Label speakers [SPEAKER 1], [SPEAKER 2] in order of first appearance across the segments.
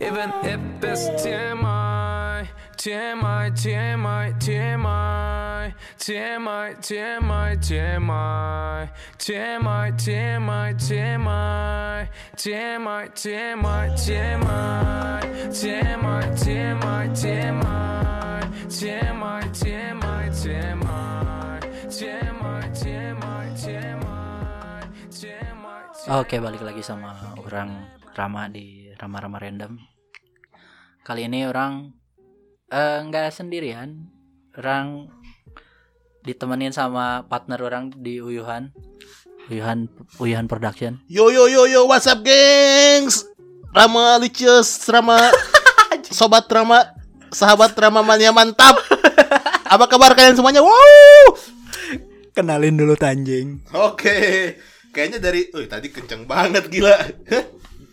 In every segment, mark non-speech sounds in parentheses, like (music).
[SPEAKER 1] even if it's TMI, TMI, TMI, TMI, TMI, TMI, TMI, TMI, TMI, TMI, TMI, TMI, TMI, TMI, TMI, TMI, TMI, TMI, TMI, TMI, TMI, TMI, TMI.
[SPEAKER 2] Oke, balik lagi sama orang Rama di Rama-Rama Random. Kali ini orang eh, nggak sendirian, orang ditemenin sama partner orang di Uyuhan. Uyuhan Uyuhan Production.
[SPEAKER 3] Yo yo yo yo, what's up gengs? Rama Lucius,
[SPEAKER 4] (laughs)
[SPEAKER 3] Rama Sobat Rama, sahabat Rama mania mantap. Apa kabar kalian semuanya? Wow.
[SPEAKER 4] Kenalin dulu Tanjing.
[SPEAKER 3] Oke. Kayaknya dari Uy, tadi kenceng banget gila. (laughs)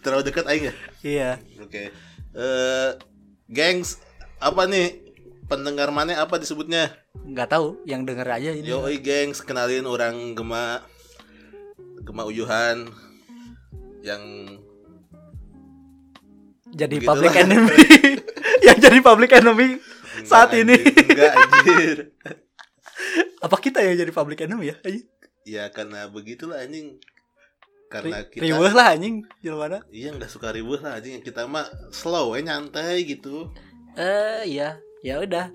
[SPEAKER 3] Terlalu dekat aing ya?
[SPEAKER 4] Iya.
[SPEAKER 3] Oke. Eh gengs, apa nih pendengar mana apa disebutnya?
[SPEAKER 2] Nggak tahu, yang denger aja ini.
[SPEAKER 4] Iya.
[SPEAKER 3] Yo gengs, kenalin orang Gema Gema Uyuhan yang
[SPEAKER 2] Jadi
[SPEAKER 3] Begitulah.
[SPEAKER 2] public
[SPEAKER 3] (laughs)
[SPEAKER 2] enemy. yang jadi public enemy saat ini.
[SPEAKER 3] Enggak, anjir. Enggak anjir.
[SPEAKER 2] Apa kita yang jadi public enemy ya? Anjing.
[SPEAKER 3] Ya karena begitulah anjing
[SPEAKER 2] Ri-
[SPEAKER 3] Karena kita
[SPEAKER 2] Riweuh lah anjing, jelmana.
[SPEAKER 3] Iya nggak suka ribut lah anjing Kita mah slow ya nyantai gitu
[SPEAKER 2] Eh iya, ya udah.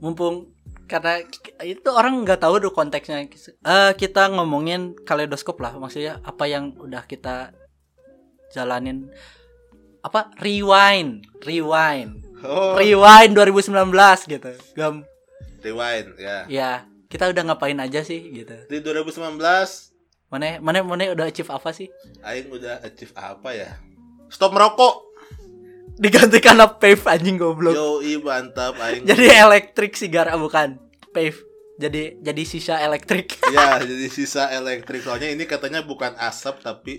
[SPEAKER 2] Mumpung karena k- itu orang nggak tahu tuh konteksnya. Eh kita ngomongin kaleidoskop lah maksudnya apa yang udah kita jalanin apa rewind, rewind.
[SPEAKER 3] Oh
[SPEAKER 2] Rewind 2019 gitu. Gam.
[SPEAKER 3] Rewind ya
[SPEAKER 2] Ya, kita udah ngapain aja sih gitu.
[SPEAKER 3] Di 2019
[SPEAKER 2] Mana mana mana udah achieve apa sih?
[SPEAKER 3] Aing udah achieve apa ya Stop merokok
[SPEAKER 2] Diganti karena pave anjing goblok.
[SPEAKER 3] Yoi mantap Aing
[SPEAKER 2] Jadi ya. elektrik sigara bukan pave. Jadi jadi sisa elektrik. (laughs)
[SPEAKER 3] Ya jadi sisa elektrik Soalnya ini katanya bukan asap tapi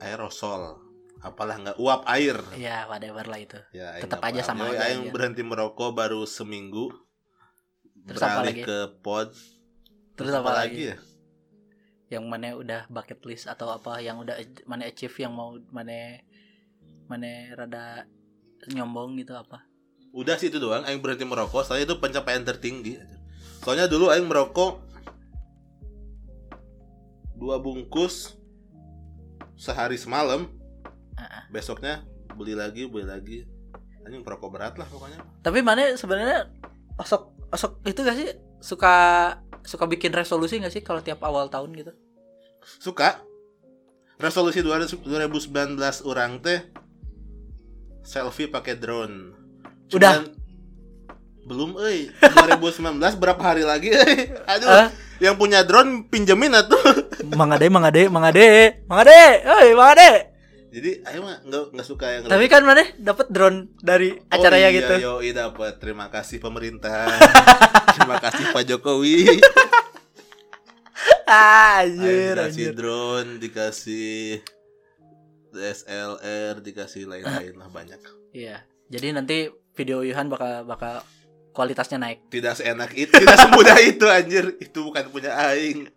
[SPEAKER 3] aerosol Apalah nggak uap air
[SPEAKER 2] Iya, whatever lah itu.
[SPEAKER 3] ya, Aing
[SPEAKER 2] Tetap
[SPEAKER 3] nggak
[SPEAKER 2] aja
[SPEAKER 3] paham.
[SPEAKER 2] sama
[SPEAKER 3] Yoi,
[SPEAKER 2] aja,
[SPEAKER 3] Aing
[SPEAKER 2] iya.
[SPEAKER 3] berhenti merokok baru seminggu
[SPEAKER 2] Terus apa
[SPEAKER 3] Beralih
[SPEAKER 2] lagi?
[SPEAKER 3] ke pod
[SPEAKER 2] Terus apa lagi?
[SPEAKER 3] ya?
[SPEAKER 2] Yang mana udah bucket list atau apa yang udah mana achieve yang mau mana mana rada nyombong gitu apa?
[SPEAKER 3] udah sih itu doang aing berhenti merokok soalnya itu pencapaian tertinggi soalnya dulu aing merokok dua bungkus sehari semalam
[SPEAKER 2] Ah.
[SPEAKER 3] besoknya beli lagi beli lagi anjing merokok berat lah pokoknya
[SPEAKER 2] Tapi mana sebenarnya osok osok itu gak sih suka suka bikin resolusi gak sih kalau tiap awal tahun gitu?
[SPEAKER 3] suka resolusi 2019 orang teh selfie pakai drone
[SPEAKER 2] Udah.
[SPEAKER 3] belum euy 2019 berapa hari lagi euy aduh
[SPEAKER 2] Eh?
[SPEAKER 3] yang punya drone pinjemin atuh
[SPEAKER 4] Mangade, mangade, mangade, mangade, oi mangade.
[SPEAKER 3] Jadi ayo mah nggak nggak suka yang Oh iya,
[SPEAKER 2] Tapi kan mana dapat drone dari acaranya gitu. (laughs)
[SPEAKER 3] Yo, dapat. Terima kasih pemerintah. (laughs) Terima kasih Pak Jokowi.
[SPEAKER 2] Ah,
[SPEAKER 3] Ayo
[SPEAKER 2] anjir,
[SPEAKER 3] dikasih
[SPEAKER 2] anjir.
[SPEAKER 3] drone, dikasih DSLR, dikasih lain-lain lah banyak.
[SPEAKER 2] Iya. Jadi nanti video Yuhan bakal bakal kualitasnya naik.
[SPEAKER 3] Tidak seenak itu, tidak semudah itu anjir. Itu bukan punya aing.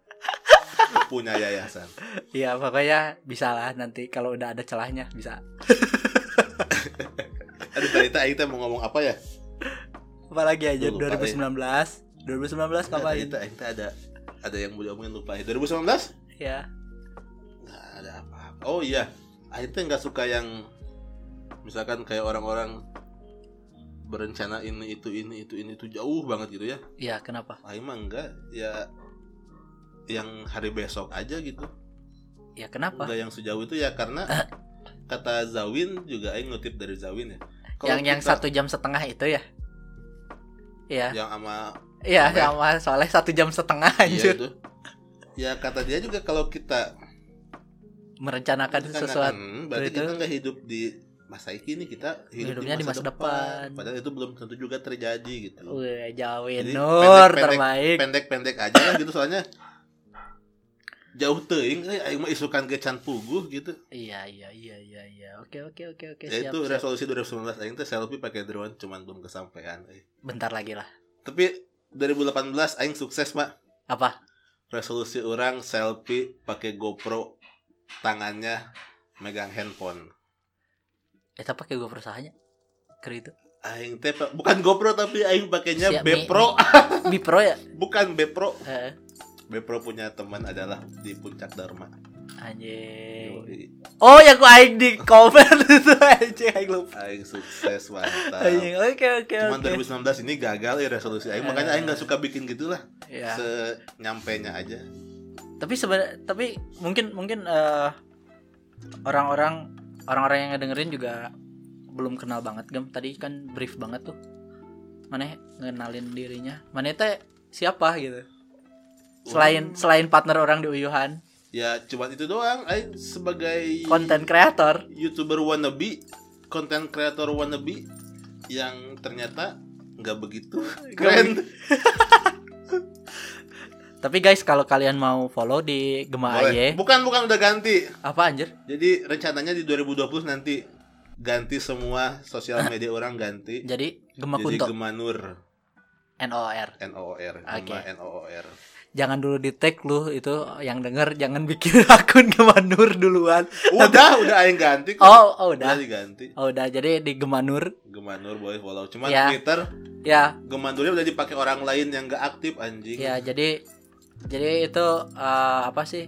[SPEAKER 3] punya yayasan.
[SPEAKER 2] Iya, pokoknya bisa lah nanti kalau udah ada celahnya bisa.
[SPEAKER 3] Aduh tadi teh aing teh mau ngomong apa ya?
[SPEAKER 2] Apalagi aja
[SPEAKER 3] Lu lupa, iya.
[SPEAKER 2] 2019. 2019
[SPEAKER 3] Tadi
[SPEAKER 2] kapan?
[SPEAKER 3] teh aing teh ada ada yang mau diomongin lupa. 2019?
[SPEAKER 2] Ya.
[SPEAKER 3] Nggak ada apa-apa. Oh iya, Aing tuh nggak suka yang misalkan kayak orang-orang berencana ini itu ini itu ini itu jauh banget gitu ya.
[SPEAKER 2] Iya, kenapa?
[SPEAKER 3] Aing mah enggak ya yang hari besok aja gitu.
[SPEAKER 2] Ya, kenapa?
[SPEAKER 3] Enggak yang sejauh itu ya
[SPEAKER 2] (coughs)
[SPEAKER 3] karena kata Zawin juga Aing ngutip dari Zawin ya. Kalau
[SPEAKER 2] yang yang
[SPEAKER 3] kita-
[SPEAKER 2] satu jam setengah itu ya. Iya.
[SPEAKER 3] yang sama
[SPEAKER 2] Iya,
[SPEAKER 3] Apa ya? Iya.
[SPEAKER 2] sama soalnya satu jam setengah
[SPEAKER 3] dia
[SPEAKER 2] anjir.
[SPEAKER 3] itu. Ya kata dia juga kalau kita
[SPEAKER 2] Merencanakan
[SPEAKER 3] Kan
[SPEAKER 2] sesuatu.
[SPEAKER 3] akan,
[SPEAKER 2] itu.
[SPEAKER 3] berarti kita nggak hidup di masa kini kita hidup
[SPEAKER 2] Hidupnya di masa depan.
[SPEAKER 3] padahal itu belum tentu juga terjadi gitu
[SPEAKER 2] Wih, jauhin
[SPEAKER 3] Jadi,
[SPEAKER 2] Nur
[SPEAKER 3] pendek-pendek-
[SPEAKER 2] terbaik.
[SPEAKER 3] pendek-pendek aja lah gitu soalnya jauh teuing eh, aing mah isukan ke can puguh gitu
[SPEAKER 2] Iya, iya, iya, iya, iya. Oke, oke, oke, oke.
[SPEAKER 3] ya,
[SPEAKER 2] Siap,
[SPEAKER 3] itu
[SPEAKER 2] siap.
[SPEAKER 3] resolusi 2019 aing teh selfie pakai drone cuman belum kesampaian eh.
[SPEAKER 2] Bentar lagi lah.
[SPEAKER 3] tapi 2018 aing sukses mak
[SPEAKER 2] Apa?
[SPEAKER 3] resolusi orang selfie pakai GoPro tangannya megang handphone
[SPEAKER 2] Eta pakai gue perusahaannya Keren itu
[SPEAKER 3] Aing teh pa- bukan GoPro tapi aing pakainya
[SPEAKER 2] Siap, Mi.
[SPEAKER 3] Bepro.
[SPEAKER 2] Bipro ya Eh,
[SPEAKER 3] (laughs) bukan Bepro.
[SPEAKER 2] Heeh.
[SPEAKER 3] Bepro punya teman adalah di Puncak Dharma.
[SPEAKER 2] Anjing
[SPEAKER 3] Yoi.
[SPEAKER 2] Oh yang gue aing di komen (laughs) itu anjing Aing lupa
[SPEAKER 3] Aing sukses mantap.
[SPEAKER 2] Anjing oke oke
[SPEAKER 3] Cuman
[SPEAKER 2] oke
[SPEAKER 3] 2019 ini gagal ya resolusi aing makanya aing nggak suka bikin gitulah.
[SPEAKER 2] Ya.
[SPEAKER 3] Senyampainya aja.
[SPEAKER 2] tapi sebenarnya tapi mungkin mungkin eh, orang-orang orang-orang yang ngedengerin juga belum kenal banget gem tadi kan brief banget tuh mana ngenalin dirinya mana teh siapa gitu selain selain partner orang di uyuhan
[SPEAKER 3] Ya cuman itu doang aing sebagai
[SPEAKER 2] konten kreator
[SPEAKER 3] YouTuber wannabe, content creator wannabe yang ternyata nggak begitu keren.
[SPEAKER 2] tapi guys kalau kalian mau follow di Gema
[SPEAKER 3] Boleh.
[SPEAKER 2] Aye
[SPEAKER 3] Bukan bukan udah ganti.
[SPEAKER 2] apa anjir
[SPEAKER 3] Jadi rencananya di 2020 nanti ganti semua sosial media orang ganti
[SPEAKER 2] Ah. jadi Gema
[SPEAKER 3] jadi
[SPEAKER 2] Kunto
[SPEAKER 3] Gemanur
[SPEAKER 2] NOR
[SPEAKER 3] NOOR
[SPEAKER 2] Oke.
[SPEAKER 3] Gema NOOR
[SPEAKER 2] jangan dulu di tag lu itu yang denger jangan bikin (laughs) akun Gema Nur duluan
[SPEAKER 3] udah udah aing ganti kok.
[SPEAKER 2] oh, oh udah
[SPEAKER 3] udah diganti
[SPEAKER 2] Oh udah jadi di Gemanur
[SPEAKER 3] Gemanur boleh follow cuman
[SPEAKER 2] Ya.
[SPEAKER 3] Twitter
[SPEAKER 2] ya
[SPEAKER 3] Gemandurnya udah dipakai orang lain yang gak aktif anjing
[SPEAKER 2] ya jadi jadi itu eh, apa sih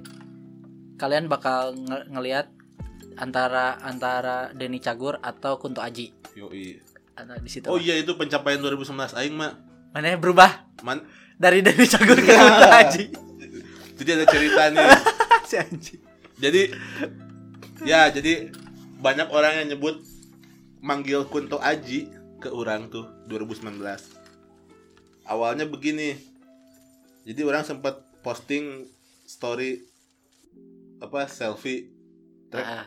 [SPEAKER 2] kalian bakal nge- ngelihat antara antara Denny Cagur atau Kunto Aji
[SPEAKER 3] Yoi.
[SPEAKER 2] Atau di situ
[SPEAKER 3] oh iya itu pencapaian 2019 aing mah
[SPEAKER 2] mana yang berubah
[SPEAKER 3] man
[SPEAKER 2] dari Denny Cagur ke
[SPEAKER 3] (laughs)
[SPEAKER 2] Kunto Aji (laughs)
[SPEAKER 3] jadi ada cerita nih
[SPEAKER 2] si Aji
[SPEAKER 3] jadi ya jadi banyak orang yang nyebut manggil Kunto Aji ke orang tuh 2019 awalnya begini jadi orang sempat posting story apa selfie Trek.
[SPEAKER 2] Ah,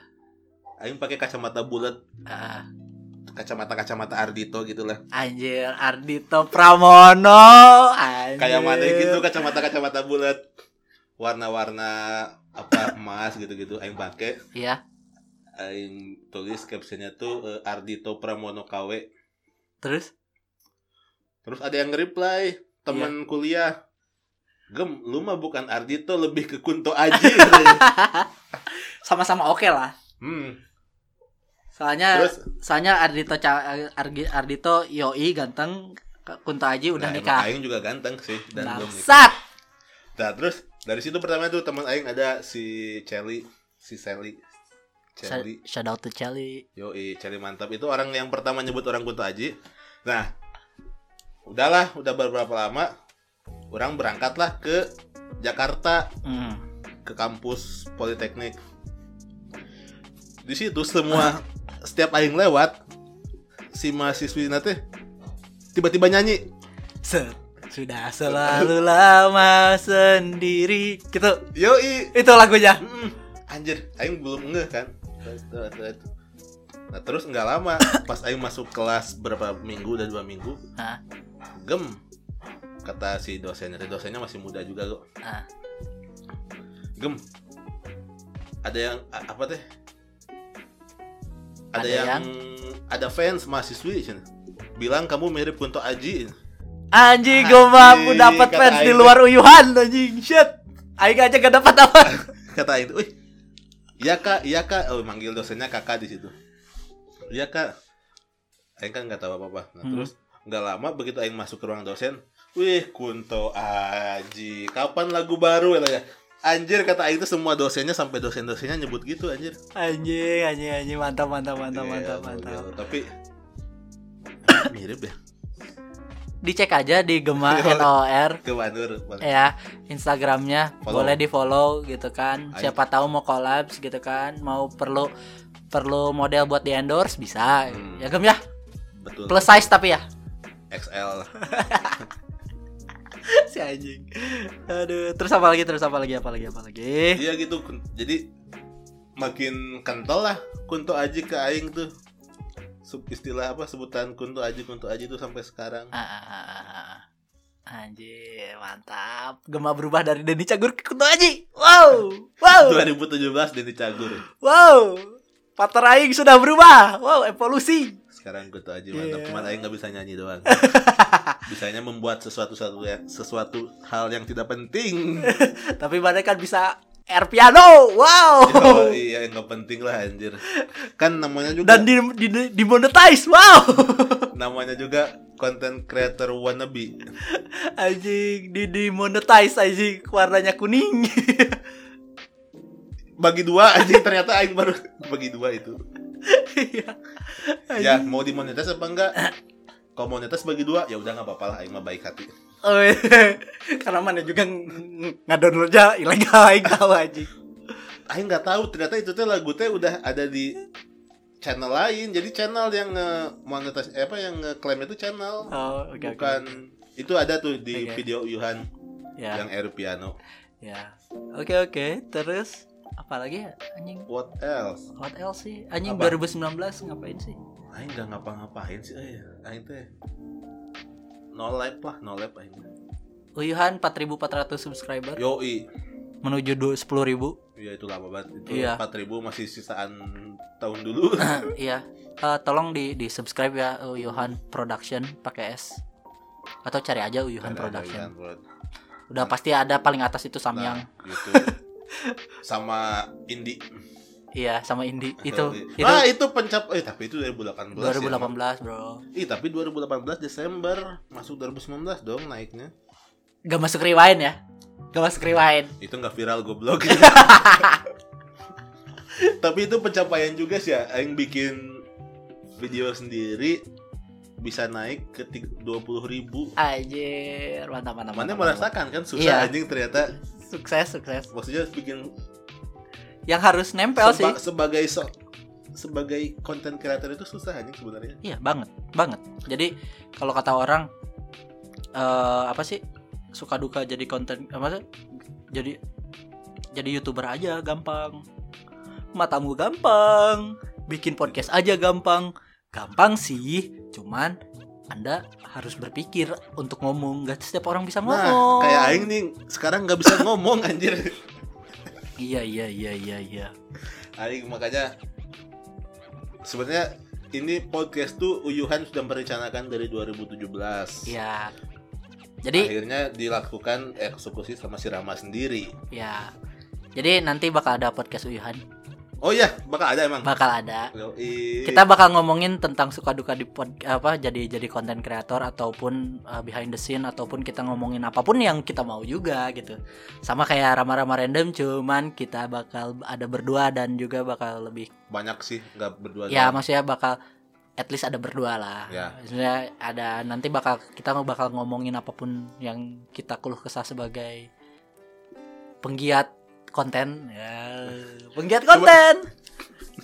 [SPEAKER 3] Aing pakai kacamata bulat
[SPEAKER 2] ah.
[SPEAKER 3] kacamata kacamata Ardito gitu lah
[SPEAKER 2] anjir Ardito Pramono anjir.
[SPEAKER 3] kayak mana gitu kacamata kacamata bulat warna-warna apa emas gitu-gitu Aing pakai
[SPEAKER 2] ya
[SPEAKER 3] Aing tulis captionnya tuh eh, Ardito Pramono KW.
[SPEAKER 2] terus
[SPEAKER 3] Terus ada yang reply teman
[SPEAKER 2] Iya.
[SPEAKER 3] kuliah. Gem, lu mah bukan Ardito lebih ke Kunto Aji. (laughs)
[SPEAKER 2] sama-sama oke lah
[SPEAKER 3] hmm.
[SPEAKER 2] soalnya
[SPEAKER 3] Terus
[SPEAKER 2] soalnya Ardito Ca- Argi- Ardito Yoi ganteng Kunto Aji udah
[SPEAKER 3] nah, emang
[SPEAKER 2] nikah
[SPEAKER 3] Aing juga ganteng sih dan belum nikah.
[SPEAKER 2] Bangsat.
[SPEAKER 3] Nah, terus dari situ pertama tuh teman Aing ada si Celi, si Sally. Celi.
[SPEAKER 2] Sh- Shout out to Celi.
[SPEAKER 3] Yoi, Celi mantap. Itu orang yang pertama nyebut orang Kunto Aji. Nah, udahlah, udah beberapa lama orang berangkatlah ke Jakarta
[SPEAKER 2] Hmm.
[SPEAKER 3] ke kampus Politeknik. Di situ semua setiap aing lewat si mahasiswi nanti tiba-tiba nyanyi.
[SPEAKER 2] Set. Sudah
[SPEAKER 3] (laughs)
[SPEAKER 2] selalu lama sendiri gitu.
[SPEAKER 3] Yoi.
[SPEAKER 2] Itu lagunya.
[SPEAKER 3] Mm-mm. Anjir, aing belum ngeh kan. Nah, terus nggak lama pas aing masuk kelas berapa minggu dan dua minggu,
[SPEAKER 2] Hah?
[SPEAKER 3] gem kata si dosennya. Tapi Dosennya masih muda juga kok.
[SPEAKER 2] Ah.
[SPEAKER 3] Gem. Ada yang a- apa teh? Ada,
[SPEAKER 2] Ada
[SPEAKER 3] yang,
[SPEAKER 2] yang?
[SPEAKER 3] ada fans mahasiswi cen. bilang kamu mirip Kunto Aji.
[SPEAKER 2] Anjing,
[SPEAKER 3] Anjing,
[SPEAKER 2] gue mampu dapat
[SPEAKER 3] kata
[SPEAKER 2] fans di
[SPEAKER 3] Aing.
[SPEAKER 2] luar uyuhan anjing. Shit. Aing aja gak dapat apa.
[SPEAKER 3] (laughs)
[SPEAKER 2] (laughs)
[SPEAKER 3] Kata itu, "Wih. Iya Kak, iya Kak." Oh, manggil dosennya Kakak di situ. Iya Kak. Aing kan nggak tahu apa-apa. Nah,
[SPEAKER 2] Hmm.
[SPEAKER 3] terus nggak lama begitu aing masuk ke ruang dosen, "Wih, Kunto Aji. Kapan lagu baru?" katanya. Anjir kata aing itu semua dosennya sampai dosen-dosennya nyebut gitu anjir.
[SPEAKER 2] Anjing, anjing, anjing mantap mantap mantap
[SPEAKER 3] Iya,
[SPEAKER 2] mantap
[SPEAKER 3] model.
[SPEAKER 2] mantap. (coughs)
[SPEAKER 3] Tapi mirip ya.
[SPEAKER 2] Dicek aja di Gema
[SPEAKER 3] (laughs) Iya.
[SPEAKER 2] NOR
[SPEAKER 3] Ke Bandung.
[SPEAKER 2] ya Instagramnya
[SPEAKER 3] Follow.
[SPEAKER 2] boleh di follow gitu kan
[SPEAKER 3] Aing.
[SPEAKER 2] siapa tahu mau collabs gitu kan mau perlu perlu model buat di endorse bisa
[SPEAKER 3] Hmm.
[SPEAKER 2] ya gem ya
[SPEAKER 3] Betul.
[SPEAKER 2] plus size tapi ya
[SPEAKER 3] XL.
[SPEAKER 2] (laughs) Eh. si anjing aduh terus apa lagi terus apa lagi apa lagi apa lagi
[SPEAKER 3] Iya gitu. Kun- Jadi makin kental lah Kunto Aji ke aing tuh. Sub- istilah apa sebutan Kunto Aji Kunto Aji tuh sampai sekarang.
[SPEAKER 2] Ah, ah, ah, ah, ah. anjing mantap gema berubah dari Denny Cagur ke Kunto Aji wow wow
[SPEAKER 3] 2017 Denny Cagur.
[SPEAKER 2] wow Pater Aing sudah berubah Wow evolusi
[SPEAKER 3] Sekarang Kunto Aji
[SPEAKER 2] Iya.
[SPEAKER 3] mantap. Cuman aing nggak bisa nyanyi
[SPEAKER 2] (laughs)
[SPEAKER 3] doang. Bisanya ya,
[SPEAKER 2] (laughs)
[SPEAKER 3] membuat sesuatu sesuatu sesuatu hal yang tidak penting.
[SPEAKER 2] Tapi mana kan bisa Air piano. Wow.
[SPEAKER 3] Oh, iya nggak penting lah anjir. Kan namanya juga
[SPEAKER 2] Dan di, di, dimonetize. Wow. (laughs)
[SPEAKER 3] namanya juga content creator wannabe.
[SPEAKER 2] Anjing, di dimonetize anjing warnanya kuning. (laughs)
[SPEAKER 3] Bagi dua anjing ternyata aing baru bagi dua itu.
[SPEAKER 2] Iya.
[SPEAKER 3] Ya, mau dimonetize apa enggak? Kalau monetas bagi dua ya udah nggak apa-apa lah aing mah baik hati.
[SPEAKER 2] Oh, iya. Karena mana juga ng- ngadownloadnya ilegal (laughs) aing tahu anjing.
[SPEAKER 3] Aing nggak tahu ternyata itu teh lagu teh udah ada di channel lain. Jadi channel yang monetas apa yang ngeklaim itu channel
[SPEAKER 2] Oh, oke oke.
[SPEAKER 3] bukan itu ada tuh di
[SPEAKER 2] Oke.
[SPEAKER 3] video Yuhan
[SPEAKER 2] Ya.
[SPEAKER 3] yang air piano.
[SPEAKER 2] Ya. Oke oke, terus apalagi ya anjing?
[SPEAKER 3] What else?
[SPEAKER 2] What else sih? Anjing
[SPEAKER 3] Apa?
[SPEAKER 2] 2019 ngapain sih?
[SPEAKER 3] Aing nggak ngapa-ngapain sih, eh. Aing teh no life lah, no life aing.
[SPEAKER 2] Uyuhan 4400 subscriber
[SPEAKER 3] Yoi,
[SPEAKER 2] menuju du- 10.000.
[SPEAKER 3] ya itu lama banget. Itu
[SPEAKER 2] Iya.
[SPEAKER 3] 4000 masih sisaan tahun
[SPEAKER 2] (laughs)
[SPEAKER 3] dulu.
[SPEAKER 2] Iya. Eh, tolong di di subscribe ya Uyuhan Production pakai S. Atau cari aja Uyuhan Kan Production. Udah pasti ada paling atas itu Samyang.
[SPEAKER 3] Nah,
[SPEAKER 2] (laughs)
[SPEAKER 3] gitu. sama Indi
[SPEAKER 2] Iya, sama Indi.
[SPEAKER 3] (laughs)
[SPEAKER 2] Itu itu
[SPEAKER 3] ah itu pencap eh tapi itu 2018 ya.
[SPEAKER 2] 2018, Bro.
[SPEAKER 3] Ih, tapi 2018 Desember masuk 2019 dong naiknya.
[SPEAKER 2] Gak masuk rewind ya. Gak masuk rewind.
[SPEAKER 3] Itu nggak viral goblok.
[SPEAKER 2] (laughs)
[SPEAKER 3] tapi itu pencapaian juga sih ya, aing bikin video sendiri bisa naik ke tig- 20.000 ribu
[SPEAKER 2] Anjir, mantap mantap. mantap,
[SPEAKER 3] Mana merasakan kan
[SPEAKER 2] Iya.
[SPEAKER 3] susah anjing ternyata
[SPEAKER 2] mantap. Sukses, sukses.
[SPEAKER 3] maksudnya bikin
[SPEAKER 2] Yang harus nempel sih.
[SPEAKER 3] seba- sebagai so- sebagai konten kreator itu susah anjing sebenarnya.
[SPEAKER 2] Iya, banget, banget. Jadi kalau kata orang eh apa sih? Suka duka jadi konten apa sih? Jadi jadi YouTuber aja gampang. Matamu gampang, bikin podcast aja gampang. Gampang sih, cuman Anda harus berpikir untuk ngomong. Gak setiap orang bisa
[SPEAKER 3] Nah,
[SPEAKER 2] ngomong.
[SPEAKER 3] kayak aing nih sekarang nggak bisa ngomong anjir.
[SPEAKER 2] Iya, iya, iya, iya, iya.
[SPEAKER 3] Aing makanya sebenarnya ini podcast tuh Uyuhan sudah merencanakan dari 2017.
[SPEAKER 2] Iya. Jadi
[SPEAKER 3] Akhirnya dilakukan eksekusi sama si Rama sendiri.
[SPEAKER 2] ya. Jadi nanti bakal ada podcast Uyuhan.
[SPEAKER 3] Oh iya, bakal ada emang.
[SPEAKER 2] Bakal ada.
[SPEAKER 3] Yoi.
[SPEAKER 2] Kita bakal ngomongin tentang suka duka di pod, apa jadi jadi konten kreator ataupun uh, behind the scene ataupun kita ngomongin apapun yang kita mau juga gitu. Sama kayak rama-rama random cuman kita bakal ada berdua dan juga bakal lebih
[SPEAKER 3] banyak sih nggak berdua.
[SPEAKER 2] ya
[SPEAKER 3] doang.
[SPEAKER 2] maksudnya bakal at least ada berdua lah.
[SPEAKER 3] Ya.
[SPEAKER 2] Maksudnya ada nanti bakal kita bakal ngomongin apapun yang kita keluh kesah sebagai penggiat konten ya penggiat konten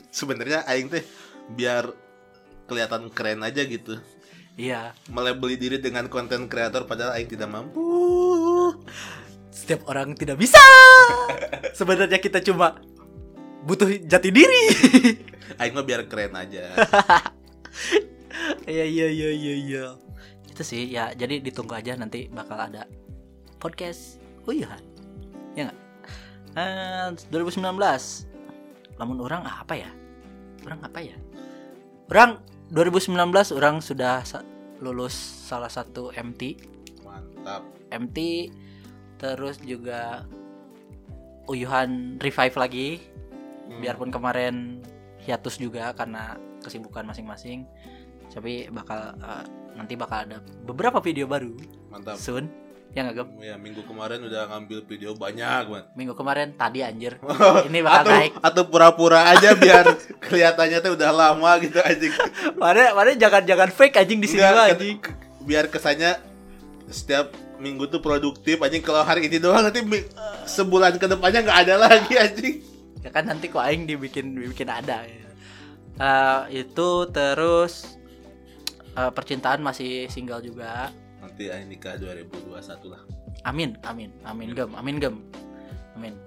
[SPEAKER 3] sebenarnya aing teh biar kelihatan keren aja gitu.
[SPEAKER 2] iya
[SPEAKER 3] Melebeli diri dengan konten kreator padahal aing tidak mampu.
[SPEAKER 2] setiap orang tidak bisa sebenarnya kita cuma butuh jati (laughs) diri
[SPEAKER 3] Aing mah biar keren aja.
[SPEAKER 2] iya iya iya iya iya itu sih ya jadi ditunggu aja nanti bakal ada podcast uyuhan ya nggak Eh, 2019 namun orang apa ya orang apa ya orang 2019 orang sudah sa- lulus salah satu MT
[SPEAKER 3] Mantap.
[SPEAKER 2] MT terus juga uyuhan revive lagi biarpun kemarin hiatus juga karena kesibukan masing-masing tapi bakal eh, nanti bakal ada beberapa video baru
[SPEAKER 3] Mantap.
[SPEAKER 2] soon yang agak
[SPEAKER 3] Ya minggu kemarin udah ngambil video banyak banget.
[SPEAKER 2] minggu kemarin tadi anjir ini bakal
[SPEAKER 3] atau
[SPEAKER 2] naik
[SPEAKER 3] atau pura-pura aja biar (laughs) kelihatannya tuh udah lama gitu anjing.
[SPEAKER 2] mana mana jangan jangan fake anjing di sini
[SPEAKER 3] Nggak,
[SPEAKER 2] lah
[SPEAKER 3] ket-
[SPEAKER 2] anjing
[SPEAKER 3] ke- biar kesannya setiap minggu tuh produktif anjing kalau hari ini doang nanti mi- sebulan ke depannya nggak ada lagi anjing.
[SPEAKER 2] ya kan nanti kok aing dibikin dibikin ada ya. Eh, itu terus eh, percintaan masih single juga
[SPEAKER 3] Nanti aing nikah 2021 lah.
[SPEAKER 2] Amin, amin, amin gem, amin gem, amin.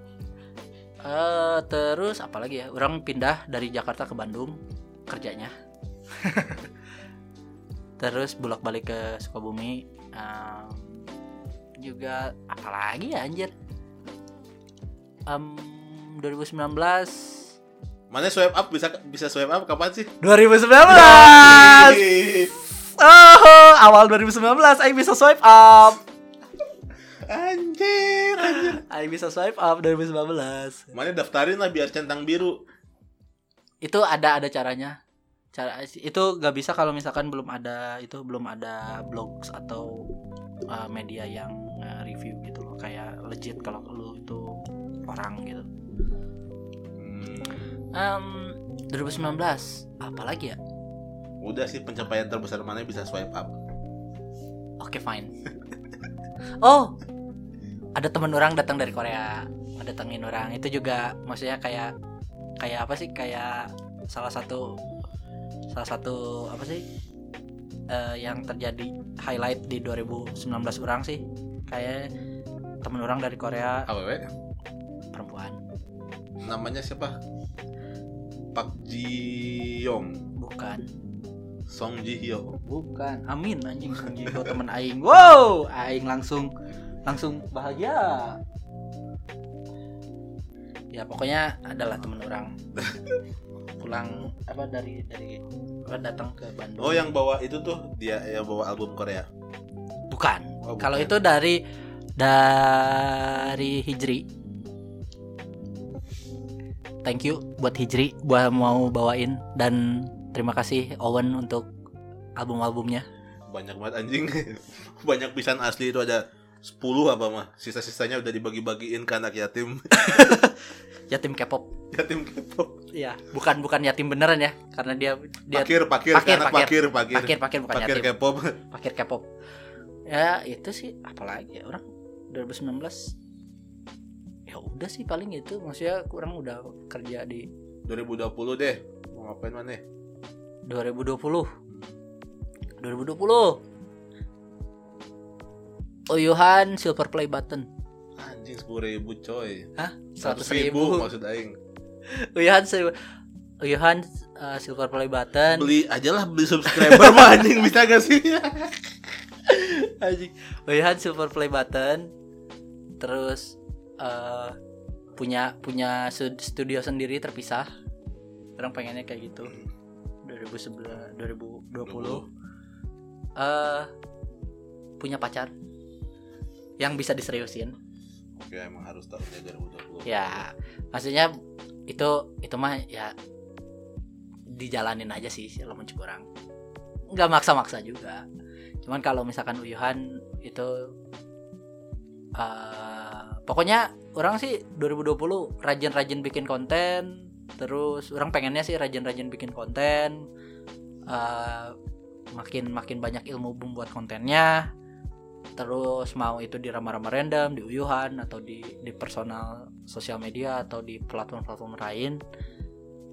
[SPEAKER 2] Eh terus apalagi ya? Orang pindah dari Jakarta ke Bandung (laughs) kerjanya. terus bolak-balik ke Sukabumi. Em, juga apalagi ya anjir? Em, 2019
[SPEAKER 3] Mana swipe up bisa bisa swipe up kapan sih?
[SPEAKER 2] 2019 Oh, awal 2019 aing bisa swipe up.
[SPEAKER 3] (laughs) Anjir, anjir.
[SPEAKER 2] Aing bisa swipe up 2019.
[SPEAKER 3] Mana daftarin lah biar centang biru.
[SPEAKER 2] Itu ada ada caranya. Cara itu gak bisa kalau misalkan belum ada itu belum ada blogs atau uh, media yang uh, review gitu loh kayak legit kalau lu itu orang gitu.
[SPEAKER 3] Hmm,
[SPEAKER 2] Em, 2019 apalagi ya?
[SPEAKER 3] udah sih pencapaian terbesar mana bisa swipe up.
[SPEAKER 2] Oke fine. Oh, ada teman orang datang dari Korea, datangin orang itu juga maksudnya kayak kayak apa sih kayak salah satu salah satu apa sih eh, yang terjadi highlight di 2019 orang sih kayak teman orang dari Korea
[SPEAKER 3] Awewe,
[SPEAKER 2] perempuan
[SPEAKER 3] namanya siapa? Pak Ji Yong,
[SPEAKER 2] bukan
[SPEAKER 3] Song Ji Hyo.
[SPEAKER 2] bukan Amin anjing anjing gua teman Aing wow Aing langsung langsung bahagia ya pokoknya adalah temen
[SPEAKER 3] (laughs)
[SPEAKER 2] orang pulang apa dari dari apa, datang ke Bandung
[SPEAKER 3] Oh yang bawa itu tuh dia yang bawa album Korea.
[SPEAKER 2] bukan
[SPEAKER 3] Oh, bukan.
[SPEAKER 2] kalau itu dari dari Hijri thank you buat Hijri buat mau bawain dan terima kasih Owen untuk album-albumnya
[SPEAKER 3] Banyak banget anjing. (laughs) Banyak pisan asli itu ada 10 apa mah. Sisa-sisanya udah dibagi-bagiin ke anak yatim. (laughs)
[SPEAKER 2] yatim Ya, K-pop
[SPEAKER 3] yatim kepo.
[SPEAKER 2] Iya, bukan bukan yatim beneran ya, karena dia dia
[SPEAKER 3] Pakir, pakir,
[SPEAKER 2] Pakir,
[SPEAKER 3] ke anak
[SPEAKER 2] pakir.
[SPEAKER 3] pakir, pakir.
[SPEAKER 2] pakir pakir bukan
[SPEAKER 3] Pakir
[SPEAKER 2] yatim,
[SPEAKER 3] K-pop. (laughs)
[SPEAKER 2] pakir K-pop. Ya itu sih, apalagi ya orang 2019 ya udah sih paling itu maksudnya kurang udah kerja di
[SPEAKER 3] 2020 deh. Mau ngapain mana?
[SPEAKER 2] 2020 2020 Oyuhan Oh, silver play button
[SPEAKER 3] Anjing 10 ribu coy.
[SPEAKER 2] Hah?
[SPEAKER 3] 100
[SPEAKER 2] 100
[SPEAKER 3] ribu
[SPEAKER 2] ribu
[SPEAKER 3] maksud aing.
[SPEAKER 2] Uyuhan sil- Uyuhan uh, silver play button
[SPEAKER 3] Beli ajalah beli subscriber
[SPEAKER 2] (laughs)
[SPEAKER 3] mah anjing bisa gak sih?
[SPEAKER 2] Anjing. Wehan silver play button. Terus eh punya punya stud- studio sendiri terpisah. Orang pengennya kayak gitu. 2011 2020. Eh punya pacar yang bisa diseriusin.
[SPEAKER 3] Oke, emang harus tahunnya 2020.
[SPEAKER 2] Ya, maksudnya itu itu mah ya dijalanin aja sih kalau mencukup orang. Nggak maksa-maksa juga. Cuman kalau misalkan uyuhan itu eh, pokoknya orang sih 2020 rajin-rajin bikin konten, terus orang pengennya sih rajin-rajin bikin konten. eh, makin makin banyak ilmu membuat kontennya terus mau itu di rama-rama random di uyuhan atau di di personal sosial media atau di platform-platform lain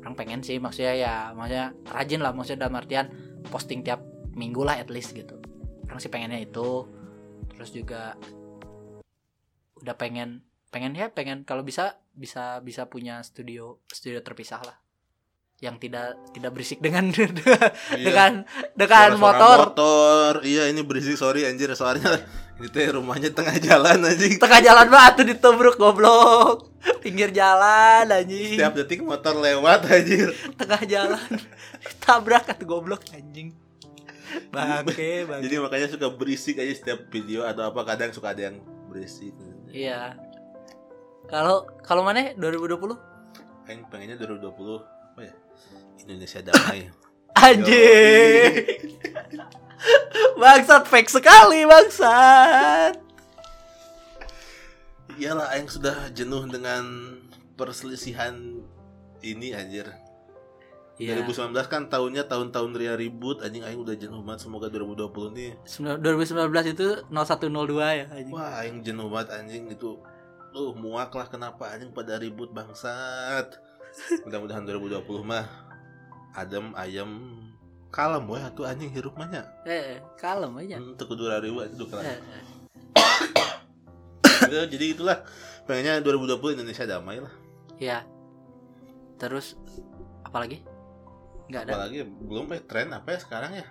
[SPEAKER 2] orang pengen sih maksudnya ya maksudnya rajin lah maksudnya dalam artian posting tiap minggu lah at least gitu orang sih pengennya itu terus juga udah pengen pengen ya pengen kalau bisa bisa bisa punya studio studio terpisah lah yang tidak tidak berisik dengan (laughs) dengan dengan
[SPEAKER 3] Iya. Suara-suara
[SPEAKER 2] motor
[SPEAKER 3] motor. Iya, ini berisik sorry anjir soalnya (laughs) ini teh rumahnya tengah jalan anjing.
[SPEAKER 2] tengah jalan banget tuh ditubruk goblok pinggir jalan anjing
[SPEAKER 3] Setiap detik motor lewat anjir.
[SPEAKER 2] tengah jalan tabrak atuh goblok anjing bangke bangke
[SPEAKER 3] Jadi makanya suka berisik aja setiap video atau apa kadang suka ada yang berisik.
[SPEAKER 2] iya kalau kalau mana 2020
[SPEAKER 3] Aing pengennya 2020 apa ya? Indonesia damai.
[SPEAKER 2] (laughs) anjing bangsat fake sekali bangsat
[SPEAKER 3] Iyalah aing sudah jenuh dengan perselisihan ini anjir.
[SPEAKER 2] Iya.
[SPEAKER 3] 2019 kan tahunnya tahun-tahun ria ribut anjing aing udah jenuh banget semoga 2020 nih.
[SPEAKER 2] Sembilan- 2019 itu 0102 ya anjing.
[SPEAKER 3] Wah aing jenuh banget anjing itu. Lu muak lah kenapa anjing pada ribut
[SPEAKER 2] (laughs)
[SPEAKER 3] bangsat. Mudah-mudahan 2020 mah adem ayem kalem weh atuh anjing hirup mah nya.
[SPEAKER 2] Eh, eh, kalem aja.
[SPEAKER 3] Hmm, teu kudu rariweuh itu
[SPEAKER 2] Eh,
[SPEAKER 3] kelar.
[SPEAKER 2] eh.
[SPEAKER 3] Ya, jadi itulah pengennya 2020 Indonesia damai lah
[SPEAKER 2] Iya. Terus apalagi? Enggak ada.
[SPEAKER 3] apalagi belum eh, tren apa ya sekarang ya